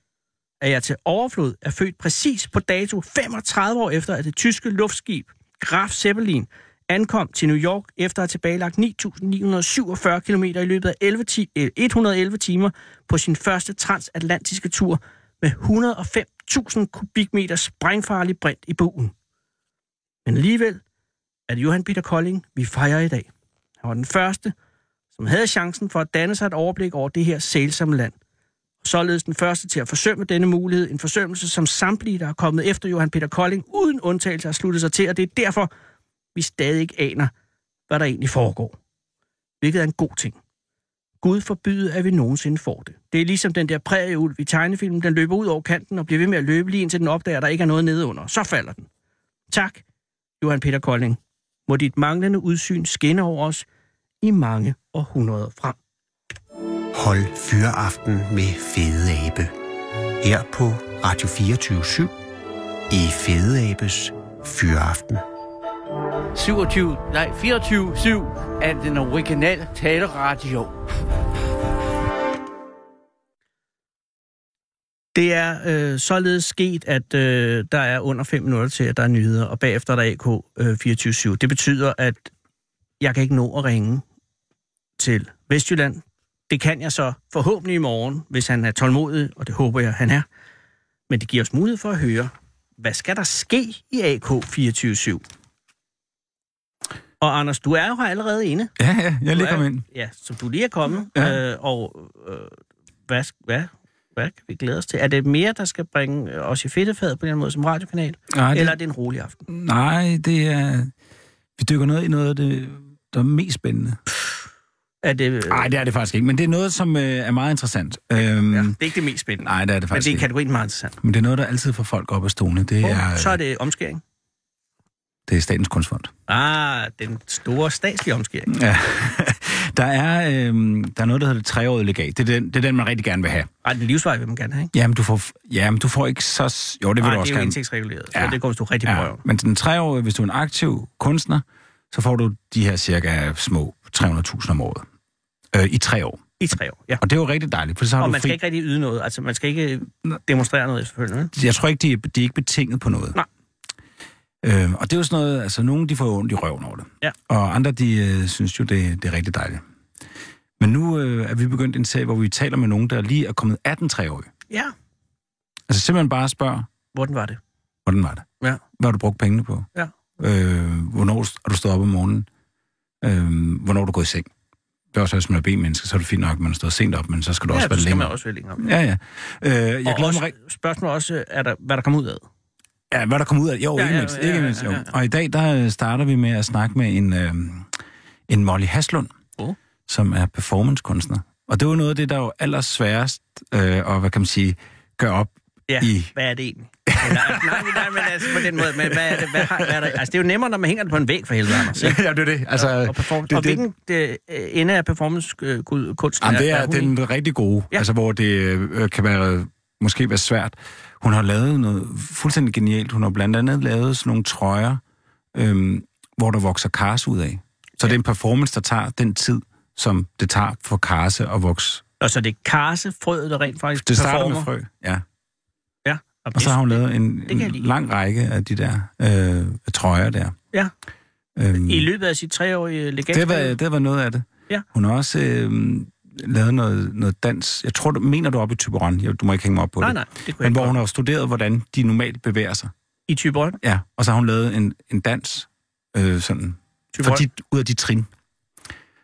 [SPEAKER 5] at jeg til overflod er født præcis på dato 35 år efter, at det tyske luftskib Graf Zeppelin ankom til New York efter at have tilbagelagt 9.947 km i løbet af 11 ti- eh, 111 timer på sin første transatlantiske tur med 105.000 kubikmeter sprængfarlig brint i buen. Men alligevel er det Johan Peter Kolding, vi fejrer i dag. Han var den første, som havde chancen for at danne sig et overblik over det her sælsomme land. Og således den første til at forsømme denne mulighed, en forsømmelse, som samtlige, der er kommet efter Johan Peter Kolding, uden undtagelse har sluttet sig til, og det er derfor, vi stadig ikke aner, hvad der egentlig foregår. Hvilket er en god ting. Gud forbyde, at vi nogensinde får det. Det er ligesom den der prærieulv i tegnefilmen. Den løber ud over kanten og bliver ved med at løbe lige indtil den opdager, at der ikke er noget nede under. Så falder den. Tak, Johan Peter Kolding. Må dit manglende udsyn skinne over os i mange århundreder frem.
[SPEAKER 3] Hold fyreaften med Fede Abe. Her på Radio 24 i Fede Abes Fyreaften.
[SPEAKER 2] 27, nej, 24-7 af den originale taleradio.
[SPEAKER 5] Det er øh, således sket, at øh, der er under 5 minutter til, at der er nyheder, og bagefter er der AK øh, 24 Det betyder, at jeg kan ikke nå at ringe til Vestjylland. Det kan jeg så forhåbentlig i morgen, hvis han er tålmodig, og det håber jeg, han er. Men det giver os mulighed for at høre, hvad skal der ske i AK 24 Og Anders, du er jo her allerede inde.
[SPEAKER 9] Ja, ja, jeg
[SPEAKER 5] Du
[SPEAKER 9] lige
[SPEAKER 5] er-
[SPEAKER 9] kom ind.
[SPEAKER 5] Ja, som du lige er kommet.
[SPEAKER 9] Ja.
[SPEAKER 5] Ja. Øh, og øh, hvad, sk- hvad, hvad kan vi glæde os til? Er det mere, der skal bringe øh, os i fedtefadet på den måde som radiokanal?
[SPEAKER 9] Nej,
[SPEAKER 5] Eller er
[SPEAKER 9] det,
[SPEAKER 5] det en rolig aften?
[SPEAKER 9] nej, det er... Vi dykker ned i noget af det, der er mest spændende.
[SPEAKER 5] Er det, øh,
[SPEAKER 9] Nej, det er det faktisk ikke, men det er noget, som øh, er meget interessant. Øhm,
[SPEAKER 5] ja,
[SPEAKER 9] ja.
[SPEAKER 5] det er ikke det mest spændende.
[SPEAKER 9] Nej, det er det
[SPEAKER 5] men
[SPEAKER 9] faktisk
[SPEAKER 5] det er
[SPEAKER 9] ikke.
[SPEAKER 5] kategorien meget interessant.
[SPEAKER 9] Men det er noget, der altid får folk op af stolene. Det, er,
[SPEAKER 5] Og så er det omskæring.
[SPEAKER 9] det er Statens Kunstfond.
[SPEAKER 5] Ah, den store statslige omskæring.
[SPEAKER 9] Ja. der, er, øhm, der er noget, der hedder det treårige legat. Det er, den, det er den, man rigtig gerne vil have.
[SPEAKER 5] Ej, den livsvej vil man gerne have, ikke?
[SPEAKER 9] Jamen, du får, jamen, du får ikke så... s- Jo, det
[SPEAKER 5] Ej,
[SPEAKER 9] vil du
[SPEAKER 5] det
[SPEAKER 9] også
[SPEAKER 5] er jo
[SPEAKER 9] gerne.
[SPEAKER 5] indtægtsreguleret,
[SPEAKER 9] Ja.
[SPEAKER 5] så det kommer du rigtig på
[SPEAKER 9] Ja,
[SPEAKER 5] røven.
[SPEAKER 9] men den treårige, hvis du er en aktiv kunstner, så får du de her cirka små 300.000 om året. Øh, I tre år.
[SPEAKER 5] I tre år, ja.
[SPEAKER 9] Og det er jo rigtig dejligt, for så har
[SPEAKER 5] Og
[SPEAKER 9] du
[SPEAKER 5] man
[SPEAKER 9] fri.
[SPEAKER 5] skal ikke rigtig yde noget. Altså, man skal ikke demonstrere noget efterfølgende. vel?
[SPEAKER 9] Jeg tror ikke, de er, de er ikke betinget på noget.
[SPEAKER 5] Nej.
[SPEAKER 9] Øhm, og det er jo sådan noget, altså nogle de får jo ondt i røven over det.
[SPEAKER 5] Ja.
[SPEAKER 9] Og andre, de øh, synes jo, det, det er rigtig dejligt. Men nu øh, er vi begyndt en serie, hvor vi taler med nogen, der lige er kommet 18 årige
[SPEAKER 5] Ja,
[SPEAKER 9] Altså simpelthen bare spørger,
[SPEAKER 5] hvordan var det?
[SPEAKER 9] hvordan var det?
[SPEAKER 5] Ja.
[SPEAKER 9] Hvad har du brugt pengene på?
[SPEAKER 5] Ja.
[SPEAKER 9] Øh, hvornår har du stået op om morgenen? Øh, hvornår er du gået i seng? Det er også, hvis man er B-menneske, så er det fint nok, at man har stået sent op, men så skal du også
[SPEAKER 5] ja,
[SPEAKER 9] være
[SPEAKER 5] det skal man
[SPEAKER 9] længere.
[SPEAKER 5] også være længere. om.
[SPEAKER 9] Ja, ja. Øh, jeg
[SPEAKER 5] Og
[SPEAKER 9] glæder
[SPEAKER 5] også,
[SPEAKER 9] mig rigtig...
[SPEAKER 5] Spørgsmålet er også, er der, hvad der kommer ud af. det.
[SPEAKER 9] Ja, hvad der kommer ud af... Jo,
[SPEAKER 5] Ja,
[SPEAKER 9] ikke
[SPEAKER 5] ja,
[SPEAKER 9] mindst.
[SPEAKER 5] ja,
[SPEAKER 9] Ikke
[SPEAKER 5] ja,
[SPEAKER 9] mindst,
[SPEAKER 5] ja,
[SPEAKER 9] jo.
[SPEAKER 5] ja.
[SPEAKER 9] Og i dag, der øh, starter vi med at snakke med en, øh, en Molly Haslund,
[SPEAKER 5] Åh.
[SPEAKER 9] som er performancekunstner. Og det er jo noget af det, der er jo allersværest, øh, og hvad kan man sige, gør op
[SPEAKER 5] Ja,
[SPEAKER 9] I-
[SPEAKER 5] hvad er det egentlig? Eller, altså, nej, nej, men altså på den måde, men hvad er det? Hvad, har, hvad er der? Altså, det er jo nemmere, når man hænger det på en væg for helvede, Anders. ikke?
[SPEAKER 9] ja, det er det. Altså,
[SPEAKER 5] og, performance. og hvilken det, øh, ende af performancekunsten
[SPEAKER 9] Jamen, det er
[SPEAKER 5] hun i?
[SPEAKER 9] den rigtig gode, ja.
[SPEAKER 5] Ja.
[SPEAKER 9] altså hvor det øh, kan være måske være svært. Hun har lavet noget fuldstændig genialt. Hun har blandt andet lavet sådan nogle trøjer, øhm, hvor der vokser kars ud af. Så ja. det er en performance, der tager den tid, som det tager for karse at vokse.
[SPEAKER 5] Og så det er karsefrøet, der rent faktisk
[SPEAKER 9] Det starter
[SPEAKER 5] performer.
[SPEAKER 9] med frø, ja.
[SPEAKER 5] Ja.
[SPEAKER 9] Og så har hun lavet en,
[SPEAKER 5] kan jeg
[SPEAKER 9] en
[SPEAKER 5] lide.
[SPEAKER 9] lang række af de der øh, trøjer der.
[SPEAKER 5] Ja.
[SPEAKER 9] Øhm,
[SPEAKER 5] I løbet af sit treårige legat.
[SPEAKER 9] det var, det var noget af det.
[SPEAKER 5] Ja.
[SPEAKER 9] Hun har også øh, lavet noget, noget dans. Jeg tror, du mener du op i Typerøn. Du må ikke hænge mig op på
[SPEAKER 5] Nej,
[SPEAKER 9] det.
[SPEAKER 5] nej, det kunne jeg
[SPEAKER 9] Men hvor
[SPEAKER 5] ikke.
[SPEAKER 9] hun
[SPEAKER 5] Hun...
[SPEAKER 9] har jo studeret, hvordan de normalt bevæger sig.
[SPEAKER 5] I Tyborg.
[SPEAKER 9] Ja. Og så har hun lavet en, en dans, øh, sådan, for
[SPEAKER 5] Tyborg.
[SPEAKER 9] de, ud af de trin.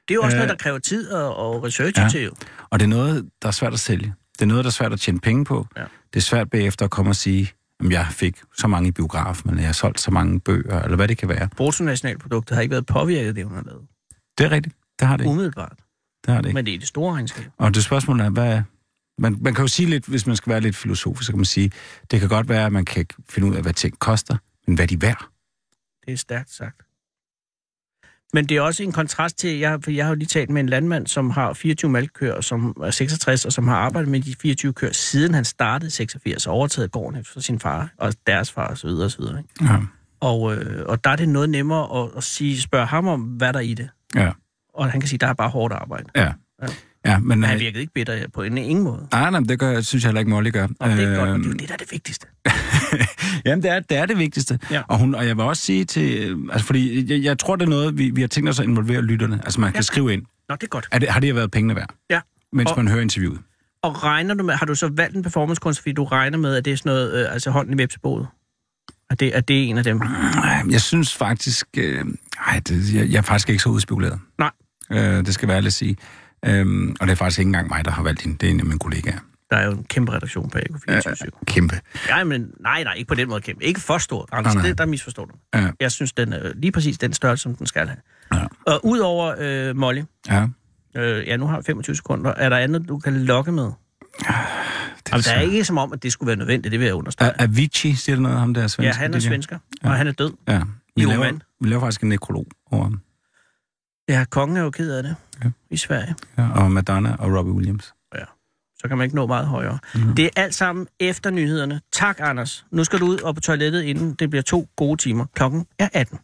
[SPEAKER 5] Det er jo også
[SPEAKER 9] Øh,
[SPEAKER 5] noget, der kræver tid og, og research
[SPEAKER 9] Ja.
[SPEAKER 5] ja. til. jo.
[SPEAKER 9] Og det er noget, der er svært at sælge. Det er noget, der er svært at tjene penge på.
[SPEAKER 5] Ja.
[SPEAKER 9] Det er svært bagefter at komme og sige, at jeg fik så mange i biografen, eller jeg har solgt så mange bøger, eller hvad det kan være.
[SPEAKER 5] Bruttonationalproduktet har ikke været påvirket af det, hun har lavet.
[SPEAKER 9] Det er rigtigt. Det har det ikke.
[SPEAKER 5] Umiddelbart.
[SPEAKER 9] Det har det ikke.
[SPEAKER 5] Men det er det store regnskab.
[SPEAKER 9] Og det spørgsmål er, hvad man, man kan jo sige lidt, hvis man skal være lidt filosofisk, så kan man sige, det kan godt være, at man kan ikke finde ud af, hvad ting koster, men hvad de er værd.
[SPEAKER 5] Det er stærkt sagt. Men det er også en kontrast til, jeg, for jeg har jo lige talt med en landmand, som har 24 malkøer, som er 66, og som har arbejdet med de 24 køer, siden han startede i 86 og overtaget gården efter sin far og deres far osv. osv. ikke?
[SPEAKER 9] Ja.
[SPEAKER 5] Og, øh, og der er det noget nemmere at, at sige, spørge ham om, hvad der er i det.
[SPEAKER 9] Ja.
[SPEAKER 5] Og han kan sige, der er bare hårdt arbejde.
[SPEAKER 9] Ja.
[SPEAKER 5] Ja.
[SPEAKER 9] ja men,
[SPEAKER 5] Men
[SPEAKER 9] nej,
[SPEAKER 5] han virkede ikke bitter på en, ingen måde.
[SPEAKER 9] nej, nej, men det gør, jeg- synes jeg heller ikke, Molly gør.
[SPEAKER 5] Og det er godt, og
[SPEAKER 9] Øhm,
[SPEAKER 5] det er jo det, der er det vigtigste.
[SPEAKER 9] Jamen, det er, det er det vigtigste.
[SPEAKER 5] Ja.
[SPEAKER 9] Og, hun, og jeg vil også sige til... øh, Altså, fordi jeg, jeg tror, det er noget, vi, vi har tænkt os at involvere lytterne. Altså, man kan
[SPEAKER 5] Ja.
[SPEAKER 9] skrive ind.
[SPEAKER 5] Nå, det er godt.
[SPEAKER 9] Er det, har det her været pengene værd?
[SPEAKER 5] Ja.
[SPEAKER 9] Mens
[SPEAKER 5] Og-
[SPEAKER 9] man hører interviewet.
[SPEAKER 5] Og regner du med, har du så valgt en performancekunst, fordi du regner med, at det er sådan noget, øh, altså hånden i vepseboet? Er det, er det en af dem?
[SPEAKER 9] Ej, Øh, Jeg synes faktisk... Øh, ej, det, jeg, jeg er faktisk ikke så udspekuleret.
[SPEAKER 5] Nej.
[SPEAKER 9] Øh, det skal være ærligt at sige. Øhm, og det er faktisk ikke engang mig, der har valgt hende. Det er en af mine kollegaer. Øh,
[SPEAKER 5] Der er jo en kæmpe redaktion på AK 24
[SPEAKER 9] Kæmpe.
[SPEAKER 5] Nej, men nej, nej, ikke på den måde kæmpe. Ikke for stor, Anders.
[SPEAKER 9] Nej,
[SPEAKER 5] Nej,
[SPEAKER 9] nej.
[SPEAKER 5] Det, der misforstår du.
[SPEAKER 9] Ja.
[SPEAKER 5] Jeg synes, den er lige præcis den størrelse, som den skal have.
[SPEAKER 9] Ja.
[SPEAKER 5] Og udover øh, Molly,
[SPEAKER 9] Ja.
[SPEAKER 5] Øh, ja, nu har jeg 25 sekunder. Er der andet, du kan lokke med?
[SPEAKER 9] Det
[SPEAKER 5] Altså, der er
[SPEAKER 9] svært.
[SPEAKER 5] ikke som om, at det skulle være nødvendigt, det vil jeg understrege.
[SPEAKER 9] A- Avicii, siger det noget, ham der svenske?
[SPEAKER 5] Ja, han er
[SPEAKER 9] DJ?
[SPEAKER 5] svensker,
[SPEAKER 9] Ja.
[SPEAKER 5] og han er død.
[SPEAKER 9] Ja. Vi
[SPEAKER 5] Jo,
[SPEAKER 9] laver,
[SPEAKER 5] mand.
[SPEAKER 9] vi laver faktisk en nekrolog over ham.
[SPEAKER 5] Ja, kongen er jo ked af det
[SPEAKER 9] Ja.
[SPEAKER 5] i Sverige.
[SPEAKER 9] Ja, og Madonna og Robbie Williams.
[SPEAKER 5] Så kan man ikke nå meget højere. Mm. Det er alt sammen efter nyhederne. Tak, Anders. Nu skal du ud og på toilettet, inden det bliver to gode timer. Klokken er 18.